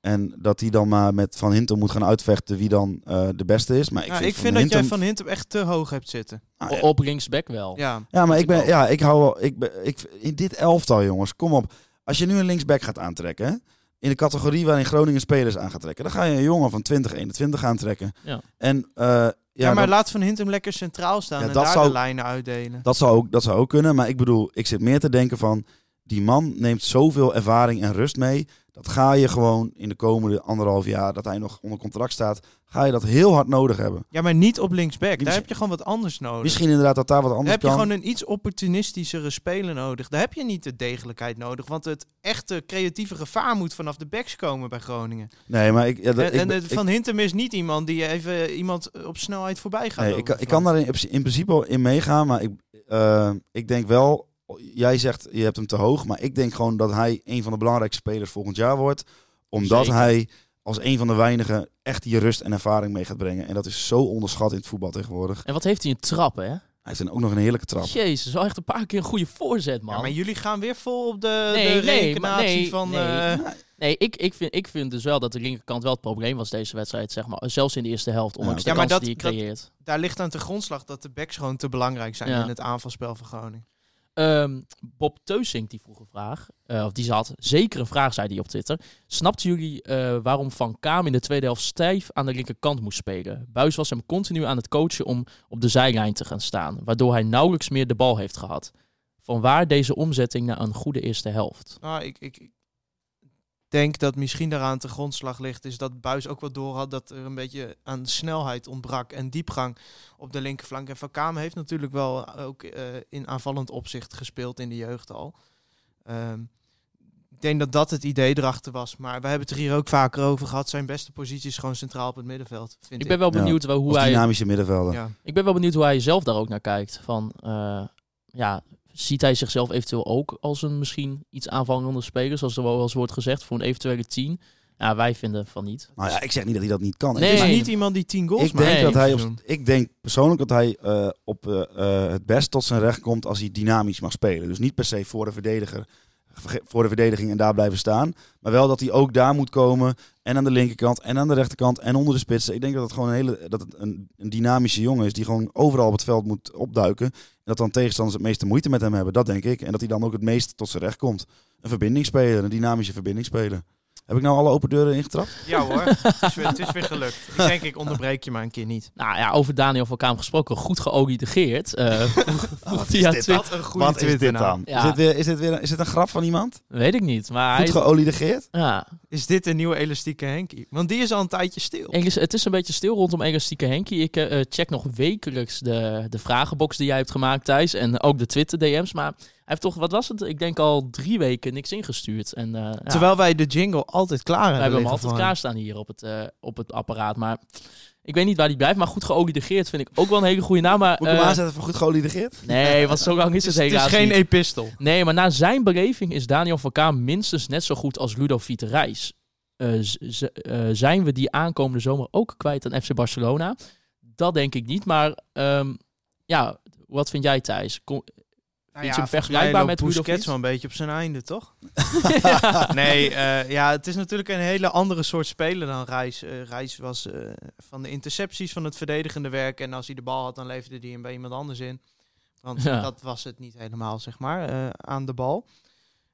S5: En dat die dan maar met Van Hintem moet gaan uitvechten wie dan eh, de beste is. Maar ik
S6: Ja,
S5: vind,
S6: ik vind
S5: van
S6: dat jij
S5: Hintem-
S6: Van Hintem echt te hoog hebt zitten.
S5: Ah,
S4: O- op linksback wel.
S6: Ja,
S5: Ja, maar ik, ben,
S4: ook.
S5: ja, ik hou wel... Ik ben, ik, in dit elftal, jongens, kom op. Als je nu een linksback gaat aantrekken... hè, in de categorie waarin Groningen spelers aan gaat trekken... dan ga je een jongen van 20, 21 aantrekken.
S4: Ja.
S5: En eh,
S6: ja,
S5: ja,
S6: maar
S5: dat,
S6: laat Van Hintem lekker centraal staan
S5: Ja,
S6: en
S5: dat
S6: daar
S5: zou-
S6: de lijnen uitdelen.
S5: dat, zou ook, dat zou ook kunnen. Maar ik bedoel, ik zit meer te denken van... die man neemt zoveel ervaring en rust mee. Dat ga je gewoon in de komende anderhalf jaar... dat hij nog onder contract staat... ga je dat heel hard nodig hebben.
S6: Ja, maar niet op linksback. Daar
S5: Misschien-
S6: heb je gewoon wat anders nodig.
S5: Misschien inderdaad dat daar wat
S6: Daar
S5: anders
S6: heb je
S5: kan.
S6: gewoon een iets opportunistischere speler nodig. Daar heb je niet de degelijkheid nodig. Want het echte creatieve gevaar moet vanaf de backs komen bij Groningen.
S5: Nee, maar ik... Ja, dat-
S6: en
S5: ik
S6: en
S5: ben-
S6: het- Van Hintem is niet iemand die even iemand eh, op snelheid voorbij gaat.
S5: Nee,
S6: lopen
S5: ik, kan- ik
S6: van.
S5: kan daar in, in principe wel in meegaan, maar ik, eh, ik denk wel, jij zegt je hebt hem te hoog, maar ik denk gewoon dat hij een van de belangrijkste spelers volgend jaar wordt. Omdat
S4: Zeker.
S5: hij als een van de weinigen echt die rust en ervaring mee gaat brengen. En dat is zo onderschat in het voetbal tegenwoordig. Hij
S4: En wat heeft hij een trap, hè?
S5: heeft dan ook nog een heerlijke trap.
S4: Jezus, wel echt een paar keer een goede voorzet, man.
S6: Ja, maar jullie gaan weer vol op de,
S4: Nee,
S6: de
S4: nee,
S6: reïncarnatie
S4: maar nee,
S6: van...
S4: nee.
S6: eh,
S4: Nee, ik, ik, vind, ik vind dus wel dat de linkerkant wel het probleem was deze wedstrijd, zeg maar. Zelfs in de eerste helft, ondanks
S5: Ja,
S4: de
S6: maar
S4: kansen
S6: dat-
S4: die je
S6: dat-
S4: creëert.
S6: daar ligt aan de grondslag dat de backs gewoon te belangrijk zijn
S4: Ja.
S6: in het aanvalspel van Groningen.
S4: Ehm, Bob Teusink die vroeg een vraag, eh, of die zat zeker een vraag, zei hij op Twitter. Snapten jullie eh, waarom Van Kaam in de tweede helft stijf aan de linkerkant moest spelen? Buis was hem continu aan het coachen om op de zijlijn te gaan staan, waardoor hij nauwelijks meer de bal heeft gehad. Vanwaar deze omzetting naar een goede eerste helft?
S6: Nou, ik, ik, ik denk dat misschien daaraan te grondslag ligt is dat Buis ook wel door had dat er een beetje aan snelheid ontbrak en diepgang op de linkerflank. En Van Kaam heeft natuurlijk wel ook eh, in aanvallend opzicht gespeeld in de jeugd al. Ehm, ik denk dat dat het idee erachter was. Maar we hebben het er hier ook vaker over gehad. Zijn beste positie is gewoon centraal op het middenveld. Vind
S4: Ik ben wel
S5: Ja.
S4: benieuwd wel hoe
S5: Als
S4: hij
S5: dynamische middenvelder.
S6: Ja.
S4: Ik ben wel benieuwd hoe hij zelf daar ook naar kijkt. Van, eh, ja, ziet hij zichzelf eventueel ook als een misschien iets aanvallende speler, zoals er wel eens wordt gezegd, voor een eventuele 10? Ja, wij vinden van niet.
S5: Nou ja, ik zeg niet dat hij dat niet kan.
S4: Nee,
S6: Het
S5: ik,
S6: is
S5: denk-
S6: niet iemand die 10 goals
S5: ik denk
S6: maakt.
S5: dat hij op-
S6: Zo'n-
S5: ik denk persoonlijk dat hij eh, op eh, eh, het best tot zijn recht komt als hij dynamisch mag spelen. Dus niet per se voor de verdediger, verge- voor de verdediging en daar blijven staan. Maar wel dat hij ook daar moet komen. En aan de linkerkant en aan de rechterkant en onder de spitsen. Ik denk dat het gewoon een hele dat het een, een dynamische jongen is die gewoon overal op het veld moet opduiken. En dat dan tegenstanders het meeste moeite met hem hebben. Dat denk ik. En dat hij dan ook het meest tot zijn recht komt. Een verbindingsspeler, een dynamische verbindingsspeler. Heb ik nou alle open deuren ingetrapt?
S6: Ja hoor, het is, weer, het is weer gelukt. Ik denk, ik onderbreek je maar een keer niet.
S4: Nou ja, over Daniel van Kaam gesproken, goed geoligeerd. Eh *laughs*
S5: *laughs*
S4: vroeg- vroeg hij aan
S5: dit
S4: Twitter-
S6: Wat een goede nou.
S5: Wat is dit dan?
S4: Ja.
S5: Is, dit weer, is, dit weer, is dit een grap van iemand?
S4: Weet ik niet, maar
S5: Goed
S4: hij,
S5: geoliede Geert?
S4: ja,
S6: Is dit een nieuwe elastieke Henkie? Want die is al een tijdje stil.
S4: Engels- het is een beetje stil rondom Elastieke Henkie. Ik eh, eh, check nog wekelijks de, de vragenbox die jij hebt gemaakt, Thijs. En ook de Twitter-DM's. Maar hij heeft toch, wat was het? Ik denk al drie weken niks ingestuurd. En, eh, ja.
S6: Terwijl wij de jingle altijd klaar
S4: We
S6: hebben.
S4: hebben hem
S6: liggen
S4: altijd
S6: voor
S4: klaarstaan hier op het, eh, op het apparaat. Maar Ik weet niet waar die blijft, maar goed geoliede Geert vind ik ook wel een hele goede naam. Maar,
S5: Moet ik hem
S4: eh,
S5: aanzetten voor goed geoliede Geert?
S4: nee, want zo lang is het,
S6: Het is
S4: helaas
S6: geen
S4: niet.
S6: epistel.
S4: Nee, maar na zijn beleving is Daniel van Kaan minstens net zo goed als Ludovic de Reis. Eh, z- z- eh, zijn we die aankomende zomer ook kwijt aan FC Barcelona? Dat denk ik niet, maar ehm, ja, wat vind jij Thijs? Kom-
S6: Nou
S4: Iets om
S6: volgens mij
S4: vergelijkbaar
S6: loopt
S4: met Rudolf
S6: Busquets
S4: Fiets?
S6: wel een beetje op zijn einde,
S4: *laughs*
S6: toch? *laughs* nee, eh, ja, het is natuurlijk een hele andere soort speler dan Reis. Eh, Reis was eh, van de intercepties, van het verdedigende werk. En als hij de bal had, dan leverde hij hem bij iemand anders in. Want
S4: Ja.
S6: dat was het niet helemaal, zeg maar, eh, aan de bal.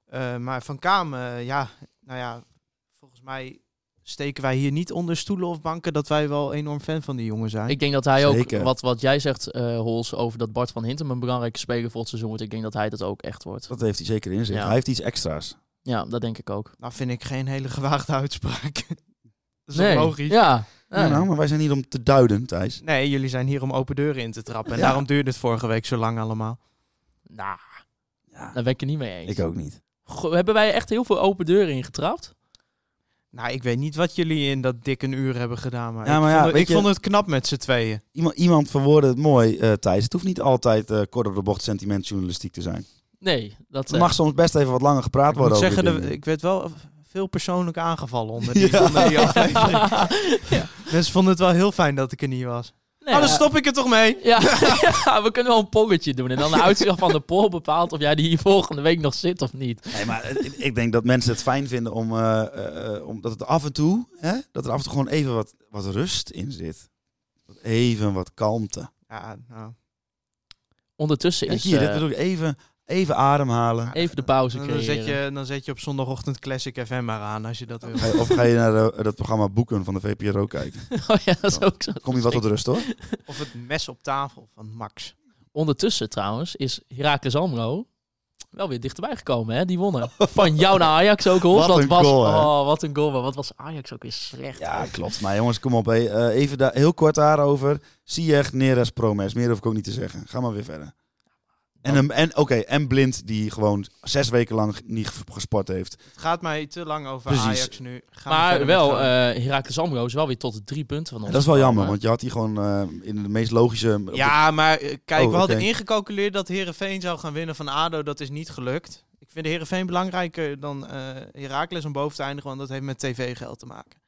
S6: Eh, maar Van Kaam, eh, ja, nou ja, volgens mij steken wij hier niet onder stoelen of banken dat wij wel enorm fan van die jongen zijn.
S4: ik denk dat hij
S5: Zeker.
S4: ook, wat, wat jij zegt eh, Hols, over dat Bart van Hintem een belangrijke speler voor het seizoen wordt. Ik denk dat hij dat ook echt wordt.
S5: Dat heeft hij zeker in zich.
S4: Ja.
S5: Hij heeft iets extra's.
S4: Ja, dat denk ik ook.
S6: Nou vind ik geen hele gewaagde uitspraak. *laughs* dat is
S4: Nee,
S6: toch logisch.
S4: Ja. Nee.
S5: Nou, nou, maar wij zijn hier om te duiden, Thijs.
S6: Nee, jullie zijn hier om open deuren in te trappen. En
S5: Ja.
S6: daarom duurde het vorige week zo lang allemaal.
S4: Nou,
S5: Ja,
S4: daar ben ik het niet mee eens.
S5: ik ook niet.
S4: Goh, hebben wij echt heel veel open deuren ingetrapt?
S6: Nou, ik weet niet wat jullie in dat dikke uur hebben gedaan. Maar,
S5: Ja,
S6: ik,
S5: maar ja,
S6: vond, het,
S5: weet
S6: ik
S5: je-
S6: vond het knap met z'n tweeën.
S5: Iemand, iemand verwoordde het mooi, eh, Thijs. Het hoeft niet altijd eh, kort op de bocht sentimentjournalistiek te zijn.
S4: Nee. Dat,
S5: Er
S4: eh,
S5: mag soms best even wat langer gepraat
S6: Ik moet
S5: worden over
S6: zeggen,
S5: die
S6: de-
S5: dingen.
S6: ik werd wel veel persoonlijk aangevallen onder
S4: *laughs*
S6: die, onder die aflevering. Mensen vonden het wel heel fijn dat ik er niet was.
S4: nee,
S6: oh, dan
S4: ja.
S6: stop ik er toch mee.
S4: Ja, *laughs* ja, we kunnen wel een polletje doen. En dan de uitslag van de poll bepaalt of jij die hier volgende week nog zit of niet.
S5: Nee, maar het- ik denk dat mensen het fijn vinden om, eh, eh, eh, omdat het af en toe, hè, dat er af en toe gewoon even wat, wat rust in zit. Even wat kalmte.
S6: Ja, nou,
S4: Ondertussen
S5: Kijk
S4: is
S5: hier, dit
S4: eh,
S5: bedoel ik, even, even ademhalen.
S4: even de pauze
S6: dan, dan
S4: creëren.
S6: zet je, dan zet je op zondagochtend Classic FM maar aan als je dat wil.
S5: Ga je- Of ga je naar eh, dat programma Boeken van de VPRO kijken.
S4: *laughs* Oh ja, dat is ook zo.
S5: Kom je wat tot rust hoor.
S6: Of het mes op tafel van Max.
S4: Ondertussen trouwens is Heracles Almelo wel weer dichterbij gekomen. Hè? Die wonnen. Van jou naar Ajax ook, hoor.
S5: Wat
S4: Dat
S5: een
S4: was,
S5: goal, hè?
S4: Oh, wat een goal. Maar wat was Ajax ook weer slecht.
S5: Ja, klopt. Maar jongens, kom op. hé. Eh, even daar, heel kort daarover. Ziyech, Neres, Promes. Meer hoef ik ook niet te zeggen. Ga maar weer verder. En, een- en, oké, en Blind die gewoon zes weken lang niet gesport heeft.
S6: Het gaat mij te lang over
S5: Precies.
S6: Ajax nu. Gaan we
S4: maar
S6: verder met
S4: wel,
S6: Groningen.
S4: eh Heracles Almelo is wel weer tot de drie punten van ons.
S5: En dat is wel jammer,
S4: gekomen.
S5: want je had die gewoon eh, in de meest logische...
S6: Ja, maar eh, kijk,
S5: Oh,
S6: we hadden
S5: oké.
S6: ingecalculeerd dat Herenveen zou gaan winnen van ADO. Dat is niet gelukt. Ik vind Herenveen belangrijker dan eh Heracles om boven te eindigen, want dat heeft met tv-geld te maken.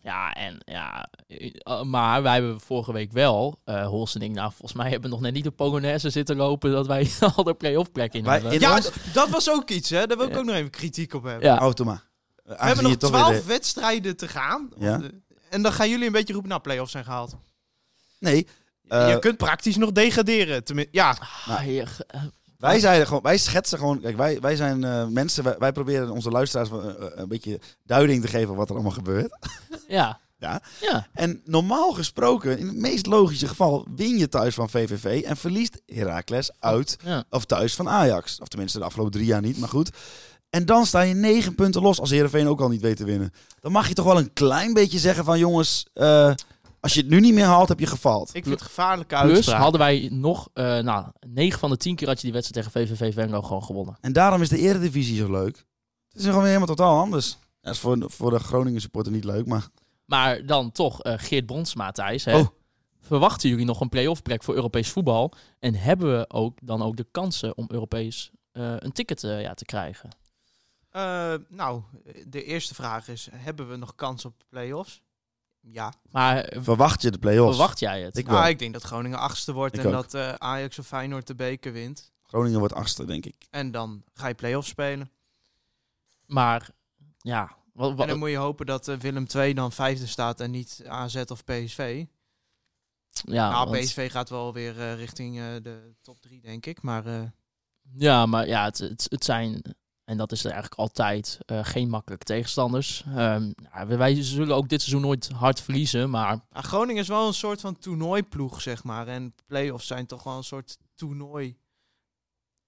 S4: Ja, en, ja, eh, maar wij hebben vorige week wel, eh Hols en ik, nou, volgens mij hebben we nog net niet op Polonaise zitten lopen dat wij *laughs* al de play-off plek in
S5: Wij-
S4: hebben.
S5: in-
S6: Ja,
S5: was-
S6: d- dat was ook iets, hè? Daar wil ik ook nog even kritiek op hebben.
S4: Ja.
S5: Automa.
S6: We hebben nog twaalf wedstrijden te gaan. Of,
S5: Ja.
S6: eh, En dan gaan jullie een beetje roepen, nou, play-offs zijn gehaald.
S5: Nee, eh,
S6: je kunt praktisch nog degraderen. Tenmin- ja,
S4: Ah, hier, eh,
S5: Wij, zeiden gewoon, wij schetsen gewoon, kijk, wij, wij zijn eh, mensen, wij, wij proberen onze luisteraars wel, eh, eh, een beetje duiding te geven wat er allemaal gebeurt.
S4: ja.
S5: Ja.
S4: ja.
S5: En normaal gesproken, in het meest logische geval, win je thuis van VVV en verliest Heracles uit
S4: Ja.
S5: of thuis van Ajax. Of tenminste de afgelopen drie jaar niet, maar goed. En dan sta je negen punten los als Heerenveen ook al niet weet te winnen. Dan mag je toch wel een klein beetje zeggen van jongens, eh, als je het nu niet meer haalt, heb je gefaald.
S6: ik vind het gevaarlijke
S4: Plus
S6: uitspraak.
S4: hadden wij nog, eh nou, 9 van de 10 keer had je die wedstrijd tegen VVV Venlo gewoon gewonnen.
S5: En daarom is de eredivisie zo leuk. Het is gewoon weer helemaal totaal anders. Dat is voor, voor de Groningen supporter niet leuk, maar...
S4: Maar dan toch, eh, Geert Bronsma, Thijs, hè?
S5: Oh.
S4: verwachten jullie nog een play-off plek voor Europees voetbal? En hebben we ook dan ook de kansen om Europees eh, een ticket eh, ja, te krijgen?
S6: Eh, nou, de eerste vraag is, hebben we nog kans op play-offs? Ja.
S4: Maar eh,
S5: Verwacht je de play-offs?
S4: verwacht jij het?
S5: Ik wel.
S6: Ja, Ah, ik denk dat Groningen achtste wordt
S5: Ik
S6: en
S5: ook.
S6: dat eh, Ajax of Feyenoord de beker wint.
S5: Groningen wordt achtste, denk ik.
S6: En dan ga je play-offs spelen.
S4: Maar ja, wat,
S6: En dan moet je hopen dat eh, Willem II dan vijfde staat en niet AZ of PSV.
S4: ja,
S6: nou,
S4: want-
S6: PSV gaat wel weer eh, richting eh, de top drie, denk ik. Maar eh,
S4: ja, maar ja, het, het, het zijn, en dat is er eigenlijk altijd, eh, geen makkelijke tegenstanders. Ehm, ja, wij- wij zullen ook dit seizoen nooit hard
S6: *laughs*
S4: verliezen, maar
S6: ah, Groningen is wel een soort van toernooiploeg, zeg maar. En play-offs zijn toch wel een soort toernooi...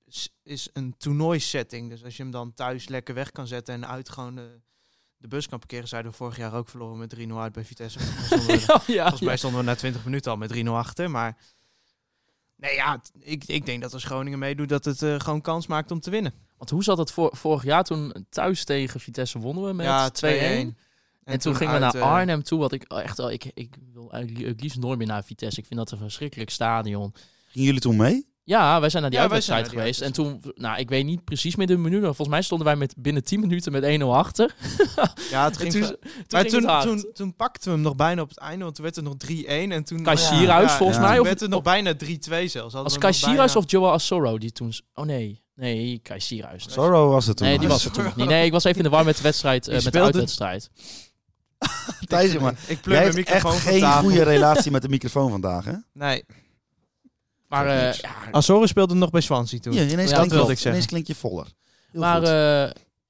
S6: s- Is een toernooisetting. Dus als je hem dan thuis lekker weg kan zetten en uit gewoon de, de bus kan parkeren... zeiden we vorig jaar ook verloren met 3-0 uit bij Vitesse. *laughs* Zonder-
S4: Oh, ja,
S6: Volgens mij stonden we na 20 minuten al met 3-0 achter. Maar nee, ja, t- ik, ik denk dat als Groningen meedoet, dat het eh, gewoon kans maakt om te winnen.
S4: Want hoe zat het voor, vorig jaar toen thuis tegen Vitesse wonnen we met
S6: ja,
S4: 2-1? En, toen, gingen we
S6: uit,
S4: naar
S6: eh,
S4: Arnhem toe, wat ik oh, echt al... Ik, ik wil eigenlijk li- het liefst nooit meer naar Vitesse. Ik vind dat een verschrikkelijk stadion.
S5: Gingen jullie toen mee?
S4: Ja, wij zijn naar die
S6: Ja, wij zijn
S4: uitwedstrijd
S6: naar die
S4: geweest. En toen, nou, ik weet niet precies meer de minuut. maar Volgens mij stonden wij met binnen 10 minuten met 1-0 achter.
S6: Ja, het ging
S4: toen-
S6: ver-
S4: Toen
S6: maar
S4: ging het
S6: toen,
S4: hard.
S6: toen, toen pakten we hem nog bijna op het einde, want toen werd het nog 3-1. En toen
S4: Kai Sierhuis, volgens
S5: ja.
S4: mij.
S6: toen
S4: Of,
S6: werd het nog
S4: of-
S6: bijna 3-2 zelfs. Hadden
S4: als
S6: we
S4: Kai
S6: nog
S4: Sierhuis
S6: bijna-
S4: of Joel Assoro die toen... s- Oh nee, nee, Kai Sierhuis.
S5: Sorrow was het toen. *laughs*
S4: Nee, die
S5: nog.
S4: was er toen nog niet. Nee, ik was even in de war met de wedstrijd,
S6: Die
S4: eh, met de
S6: speelde-
S4: uitwedstrijd.
S5: Thijs, maar
S6: Ik pleur
S5: jij
S6: mijn
S5: hebt echt
S6: microfoon van
S5: geen
S6: tafel.
S5: *laughs* goede relatie met de microfoon vandaag, hè?
S6: Nee,
S4: Maar
S5: Zegt
S4: eh,
S5: niks.
S4: ja,
S6: Azores speelde nog bij Swansea toen.
S5: Ja, ineens,
S4: dat
S5: klinkt
S6: wilde
S5: je,
S6: ik zeggen.
S5: ineens klink je voller. Heel
S4: maar
S5: goed.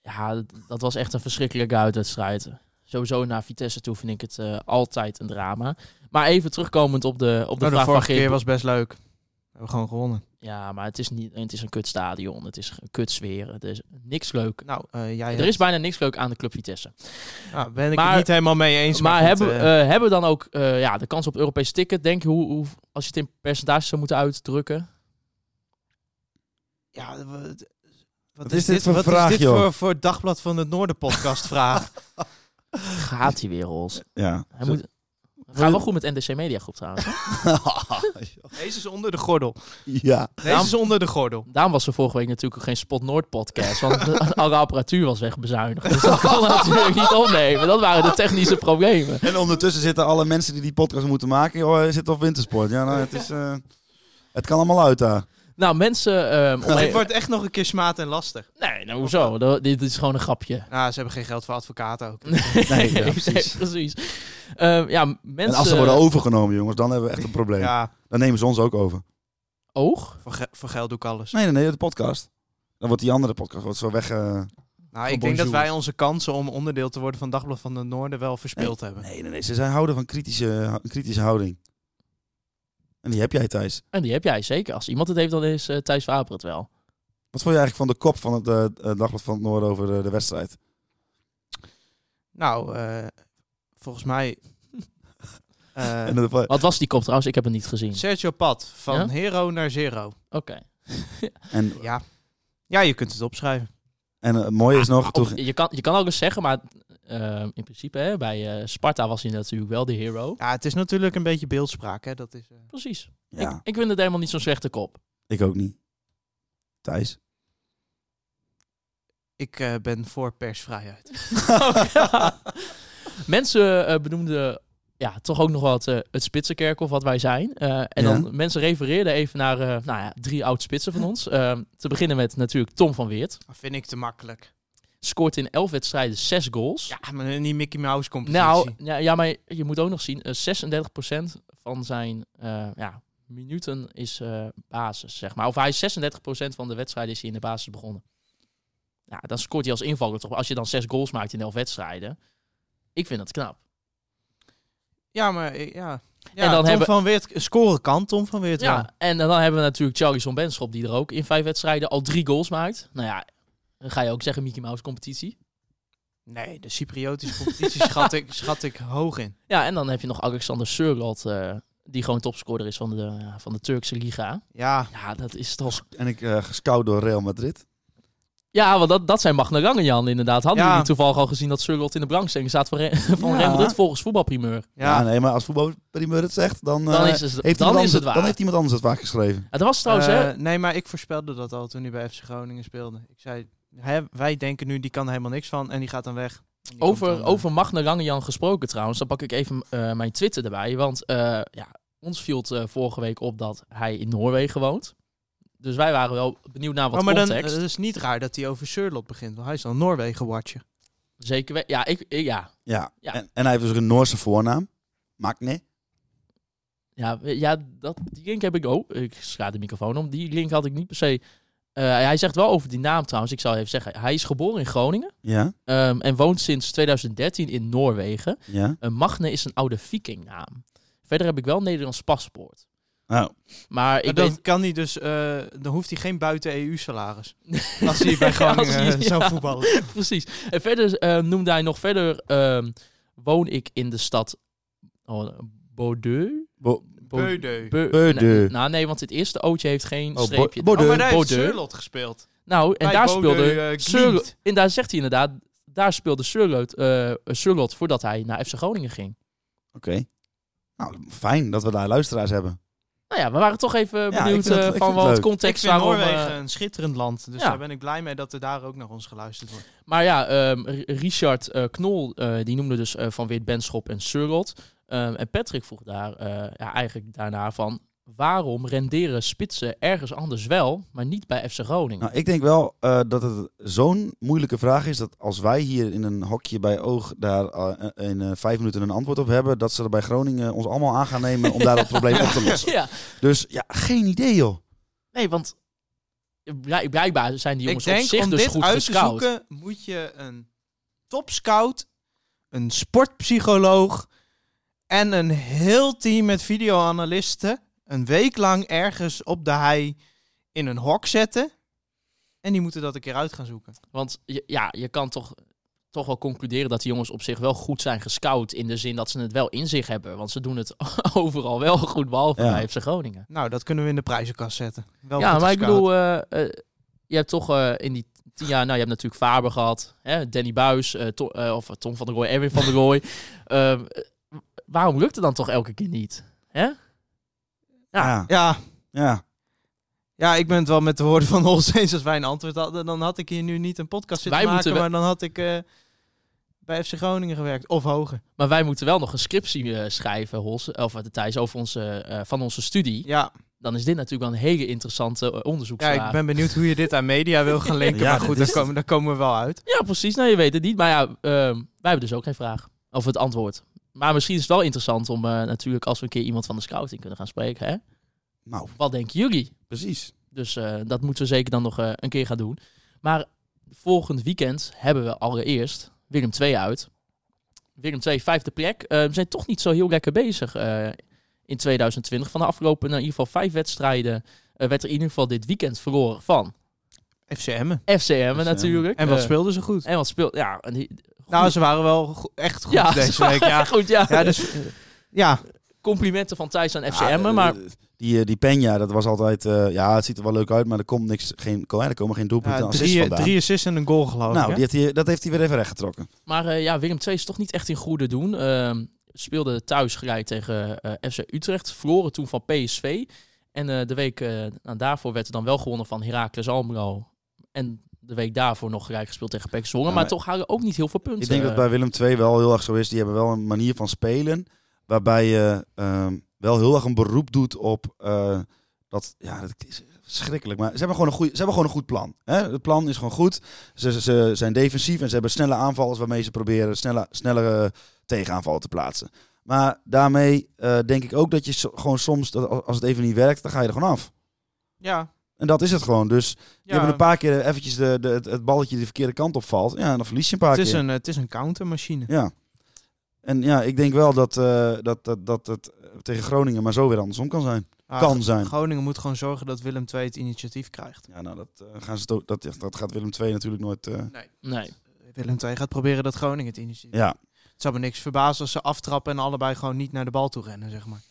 S4: eh, ja, dat- dat was echt een verschrikkelijke uitwedstrijd. Sowieso naar Vitesse toe vind ik het eh, altijd een drama. Maar even terugkomend op de,
S6: Nou,
S4: op de
S6: de
S4: vraag van
S6: vorige
S4: Geert.
S6: keer was best leuk. We hebben gewoon gewonnen.
S4: Ja, maar het is, niet, het is een kutstadion. Het is een kutsfeer. Het is niks leuk.
S6: Nou, eh, jij
S4: Er is bijna niks leuk aan de club Vitesse.
S6: Nou, ben ik
S4: Maar-
S6: het niet helemaal mee eens.
S4: maar
S6: goed,
S4: hebben,
S6: eh,
S4: eh, hebben we dan ook eh, ja, de kans op Europese ticket? Denk je, hoe, hoe, als je het in percentage zou moeten uitdrukken?
S6: ja, wat,
S5: Wat is dit voor
S6: wat is
S5: vraag,
S6: dit
S5: joh?
S6: Voor, voor het Dagblad van het Noorden
S5: *laughs*
S6: podcast vraag?
S4: Gaat die weer, Rols.
S5: ja.
S4: eh, Hij moet... Gaat wel goed met NDC Media Groep trouwens.
S6: Deze is onder de gordel.
S5: *laughs* ja.
S6: Deze is onder de gordel.
S4: Daarom was er vorige week natuurlijk ook geen Spot Noord podcast. Want *laughs* de- alle apparatuur was wegbezuinigd. Dus dat kon natuurlijk niet opnemen. Dat waren de technische problemen.
S5: En ondertussen zitten alle mensen die die podcast moeten maken, joh, eh, zitten op wintersport. Ja, nou, het is... eh, het kan allemaal uit daar.
S4: Nou, mensen. ehm, om-
S6: Het wordt echt nog een keer smaad en lastig.
S4: Nee, nou hoezo? Dat- dit is gewoon een grapje.
S6: Nou, ze hebben geen geld voor advocaten ook.
S5: Nee,
S4: *laughs*
S5: ja,
S4: Nee,
S5: precies.
S4: precies. Ehm, ja,
S5: En
S4: mensen.
S5: als ze worden overgenomen, jongens, dan hebben we echt een probleem.
S6: Ja,
S5: Dan nemen ze ons ook over.
S4: oog.
S6: voor, ge- voor geld doe ik alles.
S5: Nee, nee, nee, de podcast. Dan wordt die andere podcast wordt zo weg... eh,
S6: Nou, ik denk
S5: bonjour.
S6: dat wij onze kansen om onderdeel te worden van Dagblad van het Noorden wel verspeeld hebben.
S5: Nee, nee, nee. Ze zijn houden van kritische, een kritische houding. En die heb jij, Thijs.
S4: En die heb jij zeker. Als iemand het heeft, dan is eh, Thijs Waper het wel.
S5: Wat vond je eigenlijk van de kop van het eh, eh, Dagblad van het Noorden over eh, de wedstrijd?
S6: Nou, eh, volgens *laughs* mij... eh,
S5: En dat-
S4: Wat was die kop trouwens? Ik heb het niet gezien.
S6: Sergio Pat, van
S4: Ja?
S6: hero naar zero.
S4: Oké.
S5: en,
S6: Ja. ja, je kunt het opschrijven.
S5: en het mooie is nog... Toen,
S4: Of, Je, kan, je kan ook eens zeggen, maar ehm, in principe hè, bij eh, Sparta was hij natuurlijk wel de hero.
S6: Ja, het is natuurlijk een beetje beeldspraak. Hè? Dat is, eh,
S4: Precies. Ik,
S5: ja,
S4: ik vind het helemaal niet zo'n slechte kop.
S5: ik ook niet. Thijs?
S6: ik eh, ben voor persvrijheid.
S4: *laughs* Mensen eh, benoemden ja, toch ook nog wat eh, het Spitsenkerkhof, wat wij zijn. Eh, en
S5: Ja.
S4: dan mensen refereerden even naar eh, nou ja, drie oud-spitsen van ons. Eh, te beginnen met natuurlijk Tom van Weert.
S6: Dat vind ik te makkelijk.
S4: Scoort in elf wedstrijden zes goals.
S6: Ja, maar niet Mickey Mouse competitie.
S4: nou, ja, ja, maar je moet ook nog zien, eh, 36% van zijn eh, ja, minuten is eh, basis, zeg maar. Of hij is 36% van de wedstrijden is hij in de basis begonnen. Ja, dan scoort hij als invaller toch. Als je dan zes goals maakt in elf wedstrijden. Ik vind dat knap.
S6: Ja, maar eh, ja. ja
S4: En dan
S6: Tom
S4: hebben-
S6: van Weert scoren kan, Tom van Weert wel.
S4: Ja, en dan hebben we natuurlijk Charlison Benschop die er ook in vijf wedstrijden al drie goals maakt. Nou ja, dan ga je ook zeggen Mickey Mouse competitie.
S6: Nee, de Cypriotische
S4: *laughs*
S6: competitie schat, ik, schat ik hoog in.
S4: Ja, en dan heb je nog Alexander Surlot, eh, die gewoon topscorer is van de, van de Turkse Liga.
S6: Ja,
S4: Ja, dat is toch...
S5: En ik eh gescout door Real Madrid.
S4: Ja, want dat, dat zijn Magna Jan inderdaad. Hadden
S6: Ja.
S4: jullie toevallig al gezien dat Surlot in de brangstelling staat van, Re- *laughs* van
S5: Ja.
S4: Real Madrid volgens voetbalprimeur?
S5: Ja,
S6: ja.
S5: Ah, nee, maar als voetbalprimeur het zegt, dan, eh,
S4: Dan is het,
S5: heeft
S4: dan
S5: iemand
S4: is
S5: anders-
S4: het waar.
S5: dan heeft iemand anders het vaak geschreven.
S4: Ja, dat was trouwens,
S6: Eh,
S4: hè?
S6: nee, maar ik voorspelde dat al toen hij bij FC Groningen speelde. Ik zei, hè, wij denken nu, die kan er helemaal niks van en die gaat dan weg. En die komt
S4: Over,
S6: dan, eh,
S4: over Magna Langejan gesproken trouwens, dan pak ik even eh, mijn Twitter erbij. Want eh, ja, ons viel het eh, vorige week op dat hij in Noorwegen woont. Dus wij waren wel benieuwd naar wat
S6: Oh, maar dan
S4: context.
S6: eh, het is niet raar dat hij over Surlot begint, want hij is al Noorwegen-watcher.
S4: Zeker. we- Ja, ik, ik- ja.
S5: Ja.
S4: Ja.
S5: En, en hij heeft dus een Noorse voornaam. Magne.
S4: Ja, we- ja dat, die link heb ik ook. Ik sla de microfoon om. Die link had ik niet per se. Eh, hij zegt wel over die naam trouwens. Ik zou even zeggen, hij is geboren in Groningen
S5: Ja.
S4: ehm, en woont sinds 2013 in Noorwegen.
S5: Ja.
S4: Eh, Magne is een oude vikingnaam. Verder heb ik wel een Nederlands paspoort.
S5: Oh.
S4: Maar
S6: Maar
S4: ik
S6: dan
S4: weet,
S6: kan hij dus, eh, dan hoeft hij geen *laughs* buiten-EU-salaris. als hij bij
S4: Ja, als
S6: Groningen
S4: hij-
S6: eh, zou
S4: ja.
S6: voetballen.
S4: *laughs* Precies. En verder eh, noemde hij nog verder... ehm, woon ik in de stad oh, Bordeaux?
S5: Bo-
S4: Bo-
S6: Beudeu.
S4: Beu-
S5: Bordeaux.
S4: Nee, nou nee, want het eerste ootje heeft geen
S5: Oh, Bo-
S4: streepje.
S5: Bordeaux.
S6: Oh, maar daar heeft
S4: Bordeaux.
S6: Surlot gespeeld.
S4: Nou, en
S6: Bij
S4: daar
S6: Bordeaux,
S4: speelde...
S6: eh,
S4: Sur-
S6: Glimt.
S4: en daar zegt hij inderdaad daar speelde Surlot, eh Surlot voordat hij naar FC Groningen ging.
S5: Oké. Nou, fijn dat we daar luisteraars hebben.
S4: Nou ja, we waren toch even
S5: Ja, ik
S4: benieuwd
S5: vind het-
S4: eh,
S5: ik
S4: van
S5: vind het
S4: wat
S5: leuk.
S6: Ik
S4: context
S6: vind
S4: waarom... eh,
S6: Noorwegen een schitterend land. Dus
S4: ja.
S6: daar ben ik blij mee dat er daar ook naar ons geluisterd wordt.
S4: Maar ja, ehm, R- Richard eh, Knol, eh, die noemde dus eh, van Weert Benschop en Surlot. Ehm, en Patrick vroeg daar eh, ja, eigenlijk daarna van... waarom renderen spitsen ergens anders wel, maar niet bij FC Groningen?
S5: Nou, ik denk wel eh, dat het zo'n moeilijke vraag is dat als wij hier in een hokje bij oog daar eh, in eh, vijf minuten een antwoord op hebben, dat ze er bij Groningen ons allemaal aan gaan nemen om daar dat
S4: *laughs*
S5: probleem op te lossen.
S4: ja,
S5: Dus ja, geen idee joh.
S4: nee, want blijk- blijkbaar zijn die
S6: Ik
S4: jongens op
S6: denk
S4: zich
S6: om
S4: dus
S6: dit
S4: goed
S6: uit te
S4: gescout.
S6: zoeken moet je een topscout, een sportpsycholoog en een heel team met videoanalisten een week lang ergens op de hei in een hok zetten. En die moeten dat een keer uit gaan zoeken.
S4: Want je- ja, je kan toch, toch wel concluderen dat die jongens op zich wel goed zijn gescout. In de zin dat ze het wel in zich hebben. Want ze doen het *laughs* overal wel goed, behalve
S5: Ja.
S4: bij FC Groningen.
S6: Nou, dat kunnen we in de prijzenkast zetten. Wel
S4: ja,
S6: goed
S4: maar ik
S6: gescout.
S4: bedoel, eh, eh, je hebt toch eh, in die tien jaar... Nou, je hebt natuurlijk Faber gehad, hè, Danny Buis, eh, To- eh, of Tom van der Rooij, Erwin van der
S6: *laughs*
S4: Rooij. Ehm, eh, waarom lukt het dan toch elke keer niet? Ja.
S5: Ja,
S6: Ja,
S5: ja.
S6: Ja, ik ben het wel met de woorden van Hols eens. Als wij een antwoord hadden, dan had ik hier nu niet een podcast zitten
S4: Wij
S6: maken.
S4: moeten we-
S6: Maar dan had ik eh, bij FC Groningen gewerkt. Of hoger.
S4: Maar wij moeten wel nog een scriptie eh, schrijven, Hols, of eh, Thijs, over onze, eh, van onze studie.
S6: Ja,
S4: Dan is dit natuurlijk wel een hele interessante eh, onderzoeksvraag.
S6: ja, ik ben benieuwd hoe je dit aan media wil
S5: *laughs*
S6: gaan linken.
S5: Ja, dus-
S6: maar
S5: dit
S6: goed,
S5: is
S6: daar komen, daar komen we wel uit.
S4: Ja, precies. Nou, je weet het niet. Maar ja, ehm, wij hebben dus ook geen vraag. Of het antwoord. Maar misschien is het wel interessant om eh, natuurlijk als we een keer iemand van de scouting kunnen gaan spreken. Hè?
S5: Nou,
S4: Wat denken jullie?
S5: precies.
S4: Dus eh, dat moeten we zeker dan nog eh, een keer gaan doen. Maar volgend weekend hebben we allereerst Willem 2 uit. Willem 2, vijfde plek. Eh, we zijn toch niet zo heel lekker bezig eh, in 2020. Van de afgelopen eh, in ieder geval vijf wedstrijden eh, werd er in ieder geval dit weekend verloren van
S6: FCM.
S4: FCM natuurlijk.
S6: En wat
S4: Eh,
S6: speelden ze goed?
S4: En wat speelt... Ja, en die,
S6: Nou, ze waren wel go- echt goed
S4: *laughs* Ja,
S6: deze week. Ja,
S4: goed, ja.
S6: ja dus... eh, Ja,
S4: complimenten van Thijs aan FC
S5: Ja,
S4: Emmen,
S5: eh,
S4: maar
S5: Die, eh, die Peña, dat was altijd... eh, ja, het ziet er wel leuk uit, maar er, komt niks, geen, ko- hè, er komen geen doelpunten
S6: ja,
S5: ja, assists
S6: drie,
S5: vandaan.
S6: drie assists en een goal geloof
S5: nou,
S6: ik. hè?
S5: die heeft hij, dat heeft hij weer even rechtgetrokken.
S4: Maar eh, ja, Willem II is toch niet echt in goede doen. Ehm, speelde thuis gelijk tegen eh, FC Utrecht. Verloren toen van PSV. En eh, de week eh, nou, daarvoor werd er dan wel gewonnen van Heracles Almelo. En de week daarvoor nog gelijk gespeeld tegen PEC Zwolle.
S5: Ja,
S4: maar,
S5: maar-
S4: toch hadden ook niet heel veel punten.
S5: Ik denk dat
S4: Eh,
S5: bij Willem II wel heel erg zo is. Die hebben wel een manier van spelen waarbij je ehm, wel heel erg een beroep doet op eh, dat. Ja, dat is verschrikkelijk. Maar ze hebben gewoon een, goeie, ze hebben gewoon een goed plan. Hè? Het plan is gewoon goed. Ze, ze, ze zijn defensief en ze hebben snelle aanvallers waarmee ze proberen snelle, snelle eh, tegenaanvallen te plaatsen. Maar daarmee eh, denk ik ook dat je so- gewoon soms, dat als- als het even niet werkt, dan ga je er gewoon af.
S6: Ja,
S5: En dat is het gewoon. Dus je
S6: ja.
S5: hebt een paar keer eventjes de, de, het, het balletje de verkeerde kant opvalt. Ja, en dan verlies je een paar
S6: het,
S5: keer.
S6: is een, het is een countermachine.
S5: Ja. En ja, ik denk wel dat, eh, dat, dat, dat het tegen Groningen maar zo weer andersom kan zijn.
S6: Ah,
S5: kan zijn.
S6: Groningen moet gewoon zorgen dat Willem II het initiatief krijgt.
S5: Ja, nou, dat, eh, gaan ze to- dat, dat gaat Willem II natuurlijk nooit... eh,
S4: Nee.
S6: Willem II gaat proberen dat Groningen het initiatief
S5: ja.
S6: Het zou me niks verbazen als ze aftrappen en allebei gewoon niet naar de bal toe rennen, zeg maar.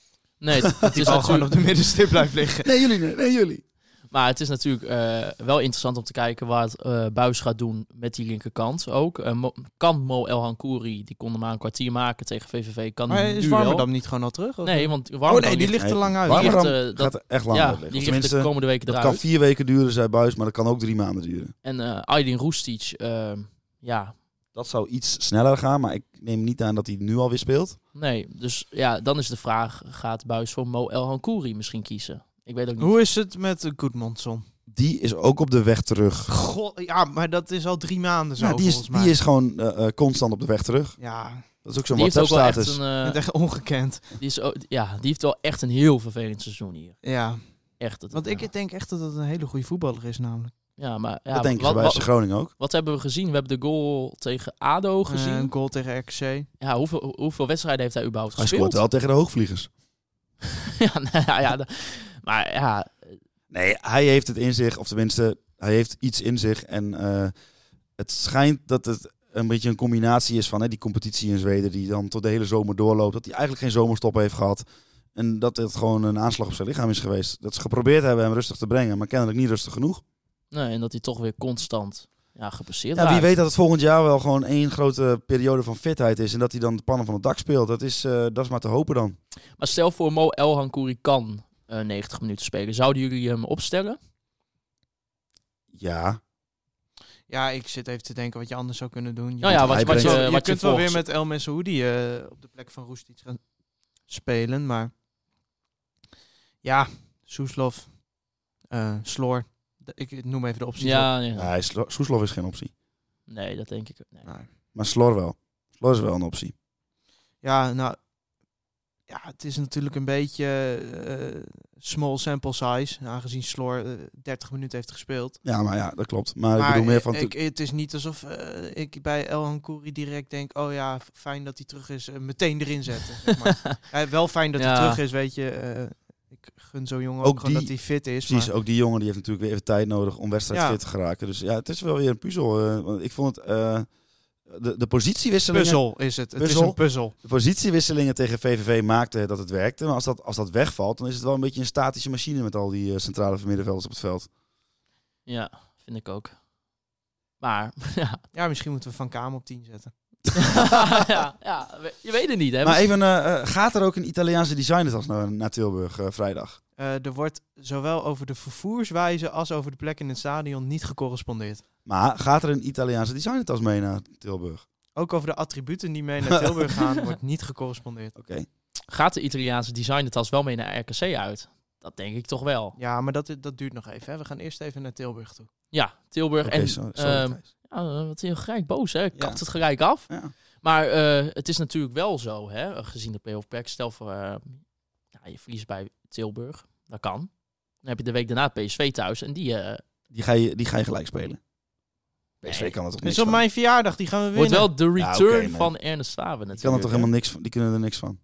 S6: *laughs*
S4: Nee, het, het
S6: Die
S4: is
S6: bal gewoon op
S4: natuurlijk,
S6: de middenstip blijft liggen.
S5: Nee, jullie. Nee, nee, jullie.
S4: maar het is natuurlijk eh, wel interessant om te kijken wat eh Buis gaat doen met die linkerkant ook. Eh, Mo- kan Mo El Hankouri, die kon hem maar een kwartier maken tegen VVV, kan
S6: Maar
S4: hij nu
S6: is
S4: wel.
S6: Warmerdam niet gewoon al terug? of-
S4: Nee, want Warmerdam
S6: oh nee, die ligt er
S5: Nee,
S6: lang uit.
S5: Warmerdam
S4: Die ligt, eh, dat-
S5: gaat er echt lang
S4: ja,
S5: uit
S4: die
S5: liggen.
S4: ligt
S5: Tenminste,
S4: de komende weken
S5: dat
S4: eruit.
S5: kan vier weken duren, zei Buis, maar dat kan ook drie maanden duren.
S4: En eh Aydin Roestic, ehm, ja,
S5: Dat zou iets sneller gaan, maar ik neem niet aan dat hij nu alweer speelt.
S4: nee. Dus ja, dan is de vraag, gaat Buis voor Mo El Hankouri misschien kiezen? Ik weet ook niet.
S6: Hoe is het met eh, Goedmondson?
S5: Die is ook op de weg terug.
S6: God, ja, maar dat is Eh. al drie maanden zo,
S5: Ja, die, is,
S6: volgens mij.
S5: die is gewoon eh, eh, constant op de weg terug.
S6: Ja, ik
S5: Dat is ook zo'n
S4: Die heeft ook wel echt
S5: WhatsApp-status.
S4: een,
S6: vind
S4: eh,
S6: het echt ongekend.
S4: die is ook- ja, die heeft wel echt een heel vervelend seizoen hier.
S6: Ja,
S4: Echt. Dat,
S6: want
S4: ja.
S6: ik denk echt dat het een hele goede voetballer is namelijk.
S4: Ja, maar ja,
S5: dat denken
S4: wat,
S5: ze bij FC
S4: wat,
S5: Groningen ook.
S4: wat hebben we gezien? We hebben de goal tegen ADO gezien.
S6: Eh, Een goal tegen RKC.
S4: ja, hoeveel, hoeveel wedstrijden heeft hij überhaupt
S5: Hij
S4: gespeeld?
S5: scoort wel tegen de hoogvliegers.
S4: *laughs* ja, nou ja, ja, dat- maar ja,
S5: Nee, hij heeft het in zich, of tenminste, hij heeft iets in zich. En eh, het schijnt dat het een beetje een combinatie is van hè, die competitie in Zweden, die dan tot de hele zomer doorloopt, dat hij eigenlijk geen zomerstop heeft gehad. En dat het gewoon een aanslag op zijn lichaam is geweest. Dat ze geprobeerd hebben hem rustig te brengen, maar kennelijk niet rustig genoeg.
S4: nee, en dat hij toch weer constant... ja, gepasseerd
S5: Ja, wie
S4: raakt.
S5: weet dat het volgend jaar wel gewoon één grote periode van fitheid is. En dat hij dan de pannen van het dak speelt. Dat is, eh, dat is maar te hopen dan.
S4: Maar stel voor Mo Elhankouri kan eh, 90 minuten spelen. Zouden jullie hem opstellen?
S5: Ja,
S6: Ja, ik zit even te denken wat je anders zou kunnen doen. Je
S4: Nou ja,
S5: hij
S4: wat, wat,
S5: brengt-
S4: je,
S6: Zo,
S4: wat
S6: je
S4: je
S6: kunt wel weer
S4: volgens-
S6: met El Messoudi eh op de plek van Roest iets gaan spelen, maar ja, Soeslof, eh, Sloor, D- ik noem even de opties. op.
S4: Ja, nee,
S5: ja hij is- Soeslof is geen optie.
S4: nee, dat denk ik. Nee.
S6: *laughs* Maar-
S5: Maar Slor wel. Slor is wel een optie.
S6: ja, nou, ja, het is natuurlijk een beetje eh, small sample size, aangezien Sloor eh, 30 minuten heeft gespeeld.
S5: Ja, maar ja, dat klopt. Maar, Nou, ik
S6: maar
S5: bedoel meer van...
S6: ik, het is niet alsof eh, ik bij El Hankouri direct denk, oh ja, f- fijn dat hij terug is, eh, meteen erin zetten. zeg
S5: *laughs*
S6: maar. Ja, wel fijn dat hij
S4: Ja.
S6: terug is, weet je. eh, ik gun zo'n jongen ook,
S5: Ook
S6: gewoon dat
S5: die-
S6: hij fit is.
S5: Precies,
S6: maar-
S5: ook die jongen die heeft natuurlijk weer even tijd nodig om wedstrijd
S6: Ja.
S5: fit te geraken. Dus ja, het is wel weer een puzzel. eh, want ik vond het... eh, de, de positiewisselingen...
S6: puzzel is het. Het
S5: Puzzel.
S6: is een puzzel.
S5: De positiewisselingen tegen VVV maakten dat het werkte. Maar als dat, als dat wegvalt, dan is het wel een beetje een statische machine met al die eh, centrale middenvelders op het veld.
S4: *laughs* Ja, vind ik ook.
S6: *laughs*
S4: Maar, *laughs* ja.
S6: Ja, misschien moeten we Van Kamer op 10 zetten.
S4: ja, ja, we- je weet het niet, hè?
S5: Maar even, eh, eh, gaat er ook een Italiaanse designer naar, naar Tilburg eh, vrijdag?
S6: Eh, er wordt zowel over de vervoerswijze als over de plek in het stadion niet gecorrespondeerd.
S5: Maar gaat er een Italiaanse designertas mee naar Tilburg?
S6: Ook over de attributen die mee naar Tilburg gaan, wordt niet gecorrespondeerd.
S5: Oké.
S4: Gaat de Italiaanse designertas wel mee naar RKC uit? Dat denk ik toch wel.
S6: Ja, maar dat, dat duurt nog even. Hè. We gaan eerst even naar Tilburg toe.
S4: Ja, Tilburg
S5: Oké,
S4: en...
S5: so- sorry,
S4: ehm,
S5: Thijs.
S4: ja, wat heel gelijk boos, hè? Kapt het gelijk af.
S5: Ja.
S4: Maar eh, het is natuurlijk wel zo, hè, gezien de playoff plek. Stel voor, eh, ja, je verliest bij Tilburg. Dat kan. Dan heb je de week daarna PSV thuis. En die eh,
S5: Die, ga je, die ga je gelijk spelen.
S4: Nee.
S5: PSV kan er
S6: Het
S5: toch niks
S6: is Dus op
S5: van?
S6: mijn verjaardag, die gaan we
S4: wordt
S6: winnen.
S4: wel de
S5: Ja,
S4: return
S5: oké, maar-
S4: van Ernest Slaven
S5: Die, kan er
S4: natuurlijk.
S5: toch
S4: hè.
S5: helemaal niks van? Die kunnen er niks van.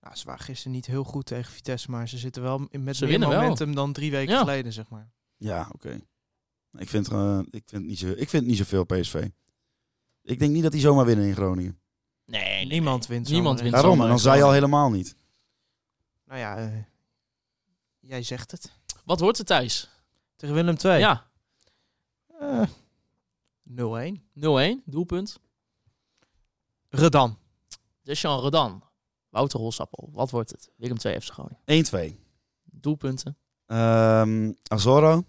S6: Nou, ze waren gisteren niet heel goed tegen Vitesse, maar ze zitten wel m- met
S4: Ze
S6: meer
S4: winnen wel.
S6: momentum dan drie weken
S4: Ja.
S6: geleden, zeg maar.
S5: Ja, oké. Ik, vind, eh, ik, vind niet zo- ik vind niet zoveel PSV. Ik denk niet dat die zomaar winnen in Groningen.
S4: Nee, nee, nee.
S6: Niemand wint zomaar.
S4: Niemand wint
S5: Daarom,
S4: zomaar.
S5: en dan zei je al helemaal niet.
S6: Nou ja, eh, jij zegt het.
S4: Wat wordt het, Thijs?
S6: Tegen Willem Eh, 2.
S4: Ja,
S6: 0-1.
S4: 0-1, doelpunt.
S6: Redan.
S4: Deschamps Rodan. Wouter Holsappel. Wat wordt het? Willem 2 FC Groningen.
S5: 1-2.
S4: Doelpunten.
S5: Ehm Azorro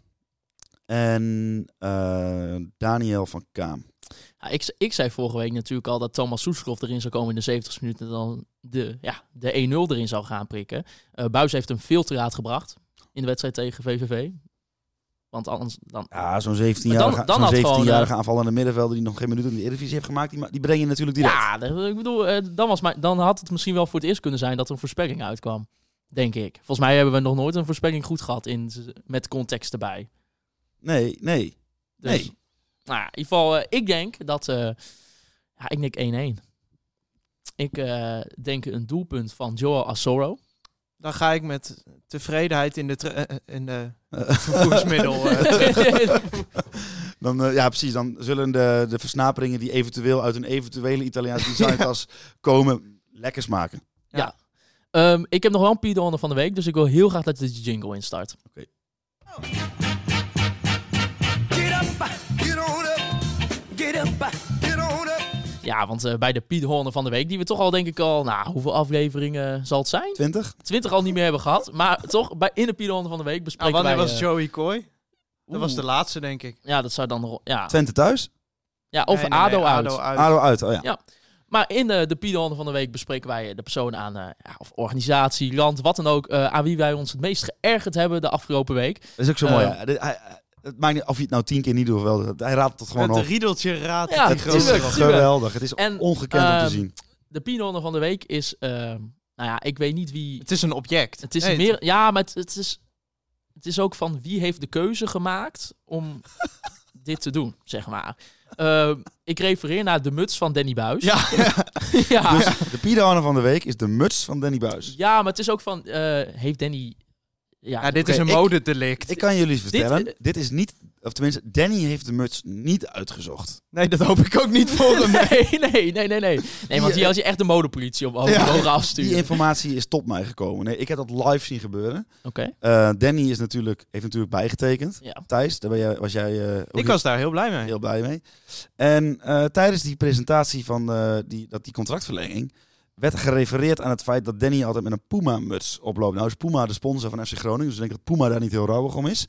S5: en eh, Daniel van Kaam.
S4: Ja, ik, ik zei vorige week natuurlijk al dat Thomas Soeslof erin zou komen in de 70 minuten. En dan de, ja, de 1-0 erin zou gaan prikken. Eh Buis heeft hem veel te raad gebracht in de wedstrijd tegen VVV. Want anders dan...
S5: Ja, zo'n
S4: Maar
S5: 17-jarige
S4: dan- dan
S5: zo'n
S4: had gewoon, eh,
S5: 17-jarige aanvallende middenvelder die nog geen minuut in de Eredivisie heeft gemaakt, die, ma- die breng je natuurlijk direct.
S4: Ja, dat- ik bedoel, eh, dan, was mijn, dan had het misschien wel voor het eerst kunnen zijn dat er een voorspelling uitkwam. Denk ik. Volgens mij hebben we nog nooit een voorspelling goed gehad in, met context erbij.
S5: Nee,
S4: *laughs*
S5: nee.
S4: Dus,
S5: Nee.
S4: Nou ja, in ieder geval, eh, ik denk dat... eh, ja, ik denk 1-1. Ik eh, denk een doelpunt van Joel Asoro.
S6: Dan ga ik met tevredenheid in de, tre- eh, eh, in de vervoersmiddel.
S5: Nou,
S6: eh.
S5: Dan, eh, ja, precies. Dan zullen de, de versnaperingen die eventueel uit een eventuele
S4: *laughs*
S5: Italiaanse designtas komen, lekker smaken.
S4: Ehm, ik heb nog wel een Pier de Honor van de week, dus ik wil heel graag dat je de jingle instart. Ja, want eh, bij de Pier de Honor van de week, die we toch al denk ik al, nou, hoeveel afleveringen eh, zal het zijn?
S5: 20?
S4: 20 al niet meer hebben gehad, maar toch, bij, in de Pier de Honor van de week
S6: nou,
S4: bespreken
S6: wanneer
S4: wij...
S6: was
S4: eh,
S6: Joey Coy? Dat was
S4: oeh,
S6: de laatste, denk ik.
S4: Ja, dat zou dan... nog- Ja,
S5: Twente thuis?
S4: ja of
S6: Nee, nee,
S4: ADO
S6: nee,
S4: uit.
S5: ADO uit, oh ja.
S4: Maar in eh, de Piedon van de Week bespreken wij de persoon aan, eh, ja, of organisatie, land, wat dan ook, eh, aan wie wij ons het meest geërgerd hebben de afgelopen week.
S5: Dat is ook zo mooi.
S4: Eh.
S5: ja. Dit- hij- hij- Het maakt niet of je het nou tien keer niet doet of wel. Hij raadt het gewoon
S6: Het
S5: op.
S6: riedeltje raadt
S4: Ja,
S6: die
S5: Het is
S4: tuurlijk,
S6: grote
S4: tuurlijk.
S5: geweldig. Het is
S4: En,
S5: ongekend om
S4: ehm,
S5: te
S4: *laughs*
S5: zien.
S4: De Piedon van de Week is, eh, nou ja, ik weet niet wie.
S6: Het is een object.
S4: Het is
S6: Nee,
S4: meer, ja, maar het, het is, het is ook van wie heeft de keuze gemaakt
S6: *laughs*
S4: om dit te doen, zeg maar. Ehm, ik refereer naar de muts van Danny Buis.
S6: Ja.
S4: *laughs* ja.
S5: Dus de Piedahane van de week is de muts van Danny Buis.
S4: ah. Ja, maar het is ook van, eh, heeft Danny. Ja,
S6: Ja, dit
S4: oké,
S6: is een
S4: ik-
S6: modedelict.
S5: Ik kan jullie eens vertellen, dit,
S4: eh,
S5: is niet Of tenminste, Danny heeft de muts niet uitgezocht.
S6: Nee, dat hoop ik ook niet voor hem.
S4: *laughs*
S6: eh,
S4: Nee, nee, nee, nee, nee. Nee, want
S5: Die,
S4: hier had je echt de modepolitie op
S6: Ja.
S4: mogen
S5: Die
S4: afsturen. Oké.
S5: informatie is tot mij gekomen. Nee, ik heb dat live zien gebeuren. Eh, Danny is natuurlijk, heeft natuurlijk bijgetekend.
S4: Ja.
S5: Thijs, daar ben jij, was jij eh, ook
S6: Ik was daar heel blij mee.
S5: heel blij mee. En eh, tijdens die presentatie van eh, die, dat die contractverlenging werd gerefereerd aan het feit dat Danny altijd met een Puma-muts oploopt. Nou is Puma de sponsor van FC Groningen, dus ik denk dat Puma daar niet heel rouwig om is.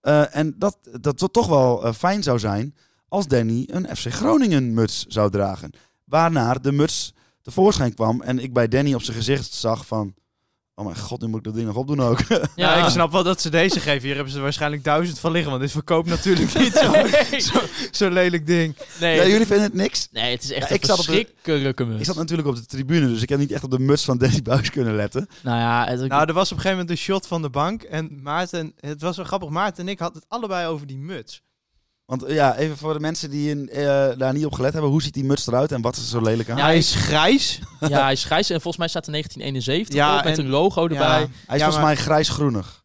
S5: Eh, en dat, dat het toch wel eh, fijn zou zijn als Danny een FC Groningen-muts zou dragen. Waarnaar de muts tevoorschijn kwam en ik bij Danny op zijn gezicht zag van... Oh mijn god, nu moet ik dat ding nog opdoen ook.
S6: Ja,
S4: Ja,
S6: ik snap wel dat ze deze geven. Hier hebben ze er waarschijnlijk duizend van liggen. Want dit verkoopt
S4: *laughs*
S6: natuurlijk niet zo'n
S4: Nee.
S6: zo'n lelijk ding.
S5: *laughs* Ja,
S4: Nee,
S5: jullie vinden het niks?
S4: nee, het is echt
S5: Ja,
S4: een
S5: ik zat op de-
S4: verschrikkelijke muts.
S5: Ik zat natuurlijk op de tribune, dus ik heb niet echt op de muts van Danny Buis kunnen letten.
S4: Nou ja, het,
S6: Nou, er was op een gegeven moment een shot van de bank. En Maarten, het was wel grappig. Maarten en ik hadden het allebei over die muts.
S5: Want eh, ja, even voor de mensen die in, eh, daar niet op gelet hebben, hoe ziet die muts eruit en wat is er zo lelijk aan?
S4: Ja, hij is
S6: grijs.
S4: ja, hij is grijs en volgens mij staat er 1971
S6: Ja,
S4: op met
S6: en-
S4: een logo erbij.
S6: Ja.
S5: hij is
S6: ja,
S5: volgens mij grijsgroenig.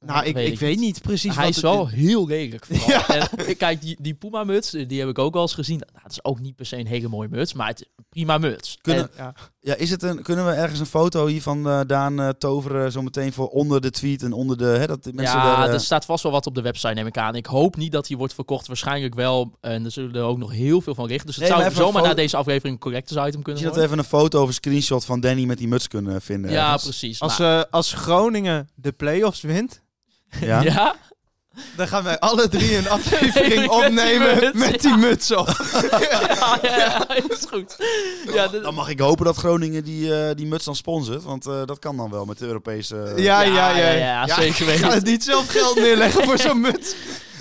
S6: Nou, ik,
S4: Weet
S6: ik
S4: ik
S6: weet niet precies
S4: Hij
S6: wat
S4: is
S6: het
S4: wel heel lelijk. vooral. En, ik kijk, die, die Puma-muts, eh, die heb ik ook wel eens gezien. Nou, het is ook niet per se een hele mooie muts, maar het is een prima muts.
S5: Kunnen,
S6: En- ja.
S5: ja, is het een, kunnen we ergens een foto hiervan eh Daan eh, toveren zometeen voor onder de tweet en onder de... Hè, dat die mensen
S4: ja,
S5: daar, eh,
S4: er staat vast wel wat op de website, neem ik aan. Ik hoop niet dat die wordt verkocht. Waarschijnlijk wel. En er zullen er ook nog heel veel van richten. Dus het
S5: Nee, maar
S4: zou
S5: even een
S4: zomaar na
S5: foto-
S4: deze aflevering een collectors item kunnen
S5: Misschien dat
S4: worden.
S5: we even een foto of een screenshot van Danny met die muts kunnen vinden.
S4: ja,
S5: ergens.
S4: precies.
S6: als,
S4: Nou,
S6: eh, als Groningen de play-offs wint,
S5: Ja?
S4: ja?
S6: dan gaan wij alle drie
S4: *laughs*
S6: een aflevering opnemen
S4: Met
S6: met
S4: die
S6: die,
S4: muts,
S6: muts op.
S4: *laughs* Ja, ja, ja, is goed. Ja, dit-
S5: Dan mag ik hopen dat Groningen die, eh, die muts dan sponsort, want eh, dat kan dan wel met de Europese... eh,
S6: Eh, Ja, ja, ja.
S4: ja, ja, zeker
S6: Ik ga
S4: weten.
S6: het niet zelf geld neerleggen voor zo'n muts.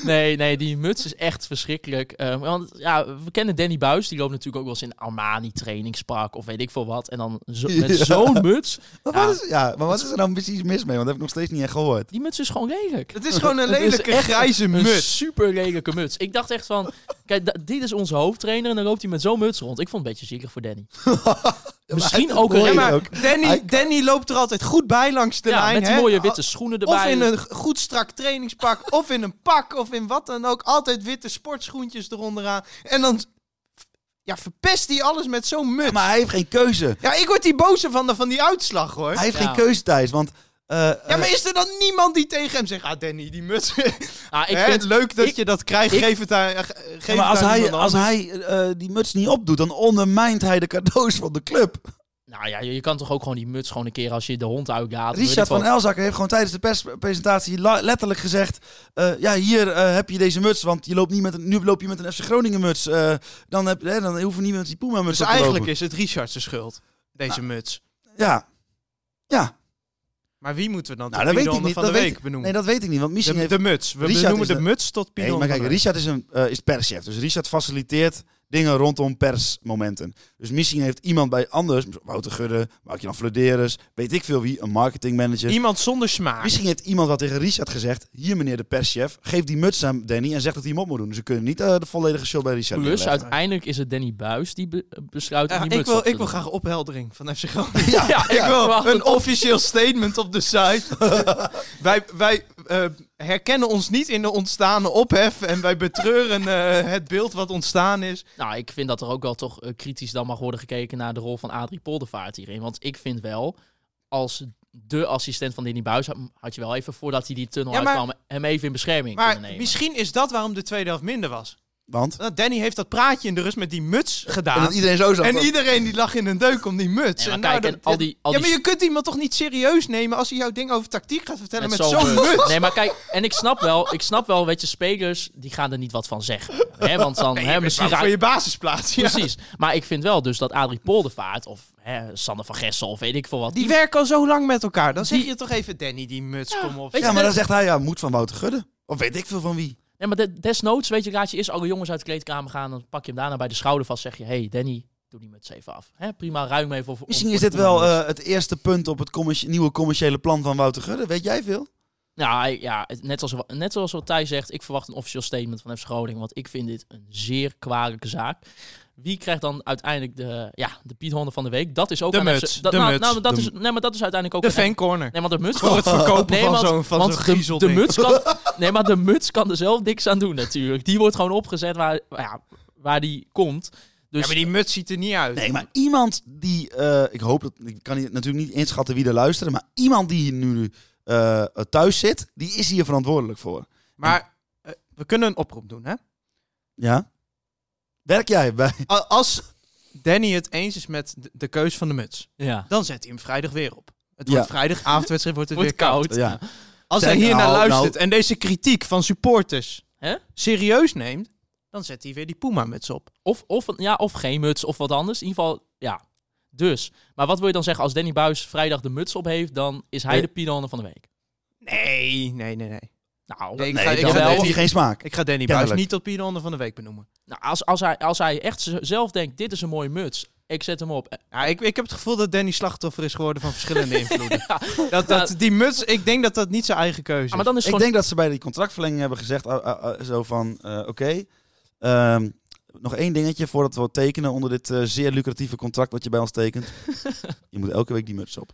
S4: Nee, nee, die muts is echt verschrikkelijk. Eh, want ja, we kennen Danny Buis. Die loopt natuurlijk ook wel eens in Armani trainingspark of weet ik veel wat. En dan zo- met
S5: Ja.
S4: zo'n muts.
S5: Maar,
S4: Ja.
S5: Wat is, ja, maar wat is er dan precies mis mee? Want dat heb ik nog steeds niet echt gehoord.
S4: Die muts is gewoon lelijk.
S6: Het
S4: *laughs*
S6: is gewoon een
S4: Het is
S6: lelijke
S4: echt
S6: grijze
S4: Een
S6: muts.
S4: super lelijke muts. Ik dacht echt van, kijk, da- dit is onze hoofdtrainer en dan loopt hij met zo'n muts rond. Ik vond het een beetje zielig voor
S6: *laughs*
S4: Danny. Misschien ook een
S5: mooi
S6: Ja,
S4: reden-
S6: maar
S5: ook.
S6: Danny,
S5: Hij-
S6: Danny loopt er altijd goed bij langs de
S4: Ja,
S6: lijn.
S4: met die
S6: hè?
S4: mooie witte schoenen
S6: Of
S4: erbij.
S6: in een goed strak trainingspak, *laughs* of in een pak, of in wat dan ook. Altijd witte sportschoentjes eronderaan. En dan ja, verpest hij alles met zo'n muts.
S5: Maar hij heeft geen keuze.
S6: Ja, ik word die boze van, de, van die uitslag, hoor.
S5: Hij heeft
S4: Ja.
S5: geen keuze, Thijs, want... eh,
S6: Ja, maar is er dan niemand die tegen hem zegt... Ah, Danny, die muts. *laughs*
S4: Ah, ik
S6: Hè,
S4: vind,
S6: leuk dat
S4: ik-
S6: je dat krijgt.
S4: ik-
S6: geef het aan, eh, ge- geef
S5: Ja, maar als
S6: het aan
S5: hij,
S6: iemand
S5: als
S6: anders.
S5: hij eh, die muts niet opdoet, dan ondermijnt hij de cadeaus van de club.
S4: nou ja, je, je kan toch ook gewoon die muts gewoon een keer als je de hond uitlaat. weet ik
S5: Richard
S4: veel.
S5: van Elzakker heeft gewoon tijdens de perspresentatie la- letterlijk gezegd... eh, ja, hier eh, heb je deze muts, want je loopt niet met een, nu loop je met een FC Groningen muts. eh, dan, heb, hè, dan hoef je niet met die Puma muts
S6: Dus
S5: op te
S6: eigenlijk
S5: lopen. Nou.
S6: is het Richard's schuld, deze muts.
S5: Ja. Ja,
S6: Maar wie moeten we dan
S5: nou
S6: nou,
S5: dat weet ik
S6: van
S5: niet.
S6: de
S5: Dat
S6: week
S5: weet, ik-
S6: benoemen?
S5: nee, dat weet ik niet, want misschien
S6: de,
S5: heeft...
S6: de muts. We
S5: Richard
S6: benoemen
S5: is
S6: de,
S5: de-
S6: muts tot
S5: Nee,
S6: Pidon.
S5: maar kijk, Richard is, een, eh, is perschef. Dus Richard faciliteert dingen rondom persmomenten. Dus misschien heeft iemand bij anders, Wouter Gudde, Mark-Jan Flederis, weet ik veel wie, een marketingmanager.
S6: Iemand zonder smaak.
S5: Misschien heeft iemand wat tegen Richard gezegd. Hier, meneer de perschef, geef die muts aan Danny en zeg dat hij hem op moet doen. Dus we kunnen niet eh, de volledige show bij Richard
S4: Plus,
S5: neerleggen.
S4: uiteindelijk is het Danny Buis die be- eh, besluit om
S6: Ja,
S4: die
S6: ik,
S4: muts op
S6: wil,
S4: te
S6: ik wil
S4: doen.
S6: graag opheldering van FC
S5: *laughs*
S6: Groningen. *laughs*
S4: Ja, ik
S6: ik wil
S4: verwacht
S6: een officieel statement op de site.
S5: *laughs*
S6: wij wij eh, herkennen ons niet in de ontstaande ophef en wij betreuren eh, het beeld wat ontstaan is.
S4: Nou, ik vind dat er ook wel toch eh, kritisch dan mag worden gekeken naar de rol van Adrie Poldervaart hierin. Want ik vind wel, als de assistent van Danny Buis, had- had je wel even voordat hij die tunnel
S6: Ja, maar-
S4: uitkwam, hem even in bescherming
S6: Maar
S4: kunnen nemen.
S6: misschien is dat waarom de tweede helft minder was.
S5: Want?
S6: Want Danny heeft dat praatje in de rust met die muts
S5: En
S6: gedaan.
S5: dat iedereen zo zag.
S6: En
S5: van-
S6: iedereen die lag in een deuk om die muts.
S4: Nee, maar
S6: En nou,
S4: kijk,
S6: dat-
S4: en al die- al
S6: ja,
S4: die-
S6: maar je kunt iemand toch niet serieus nemen als hij jouw ding over tactiek gaat vertellen met, zo'n
S4: zo'n
S6: muts. *laughs*
S4: muts. Nee, maar kijk, en ik snap wel, ik snap wel, weet je, spelers, die gaan er niet wat van zeggen. Hè, want
S6: *laughs*
S4: dan,
S6: Nee, je
S4: hè,
S6: bent
S4: misschien
S6: bang
S4: raak-
S6: voor je basisplaats. ja.
S4: Precies. Maar ik vind wel dus dat Adrie Poldervaart of hè, Sander van Gessel of weet ik veel wat.
S6: Die werken al zo lang met elkaar. Dan zeg je toch even, Danny, die muts, kom op.
S4: weet je,
S5: Ja, maar
S4: dat-
S5: dan zegt hij, ja, moet van Wouter Gudde. Of weet ik veel van wie.
S4: Nee, maar de- desnoods, weet je, raad je eerst alle jongens uit de kleedkamer gaan. Dan pak je hem daarna bij de schouder vast. Zeg je, hey Danny, doe die muts even af. Hè, prima, ruim even. Voor,
S5: Misschien
S4: om-
S5: is
S4: voor
S5: dit wel
S4: de-
S5: eh, het eerste punt op het commerci- nieuwe commerciële plan van Wouter Gudde. Weet jij veel?
S4: Nou, hij- ja, het- net, als, net zoals wat Thijs zegt, ik verwacht een officieel statement van FC Groningen. Want ik vind dit een zeer kwalijke zaak. Wie krijgt dan uiteindelijk de, ja, de Piet Honden van de week? Dat is ook
S6: De
S4: aan FC
S6: muts,
S4: dat,
S6: de
S4: nou,
S6: muts,
S4: nou, dat
S5: de-
S4: is, nee, maar dat is uiteindelijk ook
S6: De
S4: een-
S6: fancorner.
S4: Nee, maar de
S6: *laughs*
S4: muts
S6: Voor het verkopen
S4: Nee,
S6: van
S4: want,
S6: zo'n van
S4: want
S6: zo'n
S4: de, de
S6: griezelding.
S4: muts kan,
S6: *laughs*
S4: nee, maar de muts kan er zelf niks aan doen natuurlijk. Die wordt gewoon opgezet waar, ja, waar die komt. Dus
S6: Ja, maar die muts ziet er niet uit.
S5: Nee, maar iemand die, eh, ik hoop dat, ik kan hier natuurlijk niet inschatten wie er luisteren, maar iemand die hier nu eh, thuis zit, die is hier verantwoordelijk voor.
S6: Maar eh, we kunnen een oproep doen,
S4: *laughs*
S6: hè?
S5: Ja? Werk jij bij?
S6: A- Als Danny het eens is met de, de keus van de muts,
S4: ja,
S6: dan zet hij hem vrijdag weer op. Het
S5: Ja.
S6: wordt vrijdag, avondwedstrijd wordt het
S4: wordt
S6: weer koud.
S4: koud.
S5: Ja.
S6: Als
S5: Zeg,
S6: hij hier naar
S5: nou,
S6: luistert en deze kritiek van supporters
S4: Hè?
S6: serieus neemt, dan zet hij weer die Puma-muts op.
S4: Of, of, ja, of geen muts of wat anders. In ieder geval, ja. Dus. Maar wat wil je dan zeggen als Danny Buis vrijdag de muts op heeft, dan is hij
S5: Nee.
S4: de Piet Honden van de week.
S6: Nee, nee, nee, nee.
S4: Nou,
S6: Nee, ik
S5: Nee,
S6: ga- ik
S5: dan
S6: ga
S5: heeft
S6: wel-
S5: hij geen smaak.
S6: Ik ga Danny Buis
S5: Kennelijk.
S6: niet tot Pieronde van de Week benoemen.
S4: nou, als, als, hij, als hij echt z- zelf denkt, dit is een mooie muts, ik zet hem op. *laughs*
S6: Ja, ik, ik heb het gevoel dat Danny slachtoffer is geworden van verschillende invloeden.
S4: Ja.
S6: dat, dat, die muts, ik denk dat dat niet zijn eigen keuze is.
S4: Ah, maar dan is het
S5: Ik
S4: gewoon...
S5: denk dat ze bij die contractverlenging hebben gezegd, ah, ah, ah, zo van, eh, oké, ehm, nog één dingetje voordat we wat tekenen onder dit eh, zeer lucratieve contract wat je bij ons tekent.
S4: *laughs*
S5: je moet elke week die muts op.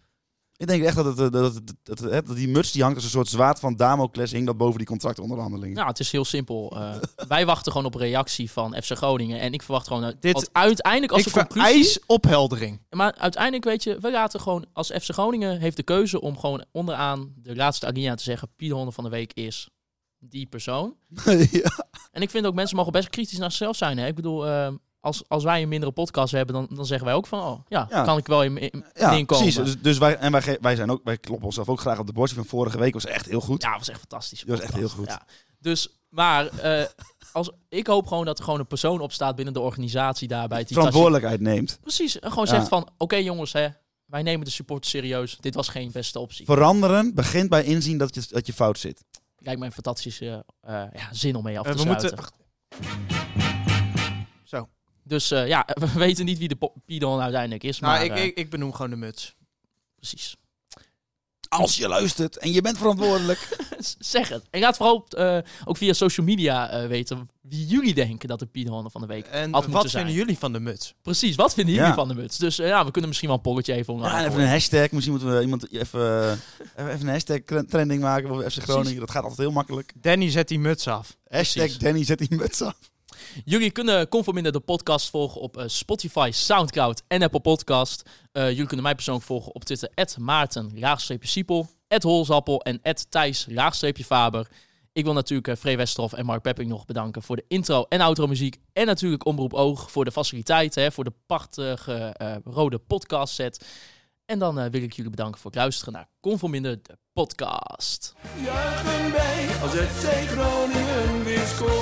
S5: Ik denk echt dat, het, eh, dat, het- dat, het- dat die muts die hangt als een soort zwaard van Damocles hing dat boven die contractonderhandelingen.
S4: Nou, het is heel simpel. Eh, wij wachten gewoon op reactie van FC Groningen. En ik verwacht gewoon... eh,
S6: Dit-
S4: want uiteindelijk als
S6: ik
S4: de conclusie...
S6: vereis opheldering.
S4: Maar uiteindelijk, weet je, we laten gewoon... Als FC Groningen heeft de keuze om gewoon onderaan de laatste agenda te zeggen... Piet Honden van de week is die persoon.
S5: *laughs* ja.
S4: En ik vind ook, mensen mogen best kritisch naar zichzelf zijn. Hè? Ik bedoel, ehm, als, als wij een mindere podcast hebben, dan, dan zeggen wij ook van... Oh, ja,
S5: Ja.
S4: kan ik wel in, in,
S5: Ja,
S4: inkomen.
S5: precies. Dus, dus wij, en wij, ge- wij, zijn ook, wij kloppen onszelf ook graag op de borst. Van vorige week was echt heel goed.
S4: Ja, was echt fantastisch.
S5: Dat was echt heel goed.
S4: Ja. Dus, maar eh, als, ik hoop gewoon dat er gewoon een persoon opstaat binnen de organisatie daarbij. Die
S5: Verantwoordelijkheid neemt.
S4: precies, en gewoon
S5: Ja.
S4: zegt van, oké jongens, hè, wij nemen de support serieus. Dit was geen beste optie.
S5: Veranderen begint bij inzien dat je, dat je fout zit.
S4: Lijkt mij een fantastische eh, ja, zin om mee af te
S6: Eh, we
S4: sluiten.
S6: moeten... Zo.
S4: Dus eh, ja, *laughs* we weten niet wie de po- Pidon uiteindelijk is,
S6: Nou,
S4: maar
S6: ik,
S4: eh,
S6: ik, ik benoem gewoon de muts.
S4: precies. *laughs*
S5: Als je luistert en je bent verantwoordelijk.
S4: Z- zeg het. En laat vooral op, eh, ook via social media eh, weten wie jullie denken dat de Pidon van de week
S6: En
S4: had
S6: wat
S4: moeten
S6: vinden
S4: zijn.
S6: jullie van de muts?
S4: Precies, wat vinden jullie
S5: Ja.
S4: van de muts? Dus eh, ja, we kunnen misschien wel een polletje even online
S5: Ja, en even
S4: gooien.
S5: een hashtag. Misschien moeten we iemand even, eh, even een hashtag tra- trending maken voor FC Groningen. Dat gaat altijd heel makkelijk.
S6: Danny zet die muts af.
S5: Hashtag Danny zet die muts af.
S4: Jullie kunnen Conforminder de podcast volgen op eh, Spotify, Soundcloud en Apple Podcast. Eh, jullie kunnen mij persoonlijk volgen op Twitter, Maarten, Siepel, Holzappel en Thijs, Faber. Ik wil natuurlijk eh Free Westerhof en Mark Pepping nog bedanken voor de intro en outro muziek. En natuurlijk Omroep Oog voor de faciliteiten, hè, voor de prachtige eh, rode podcast set. En dan eh, wil ik jullie bedanken voor het luisteren naar Conforminder de podcast.
S1: Juichen wij als het FC Groningen weer scoort.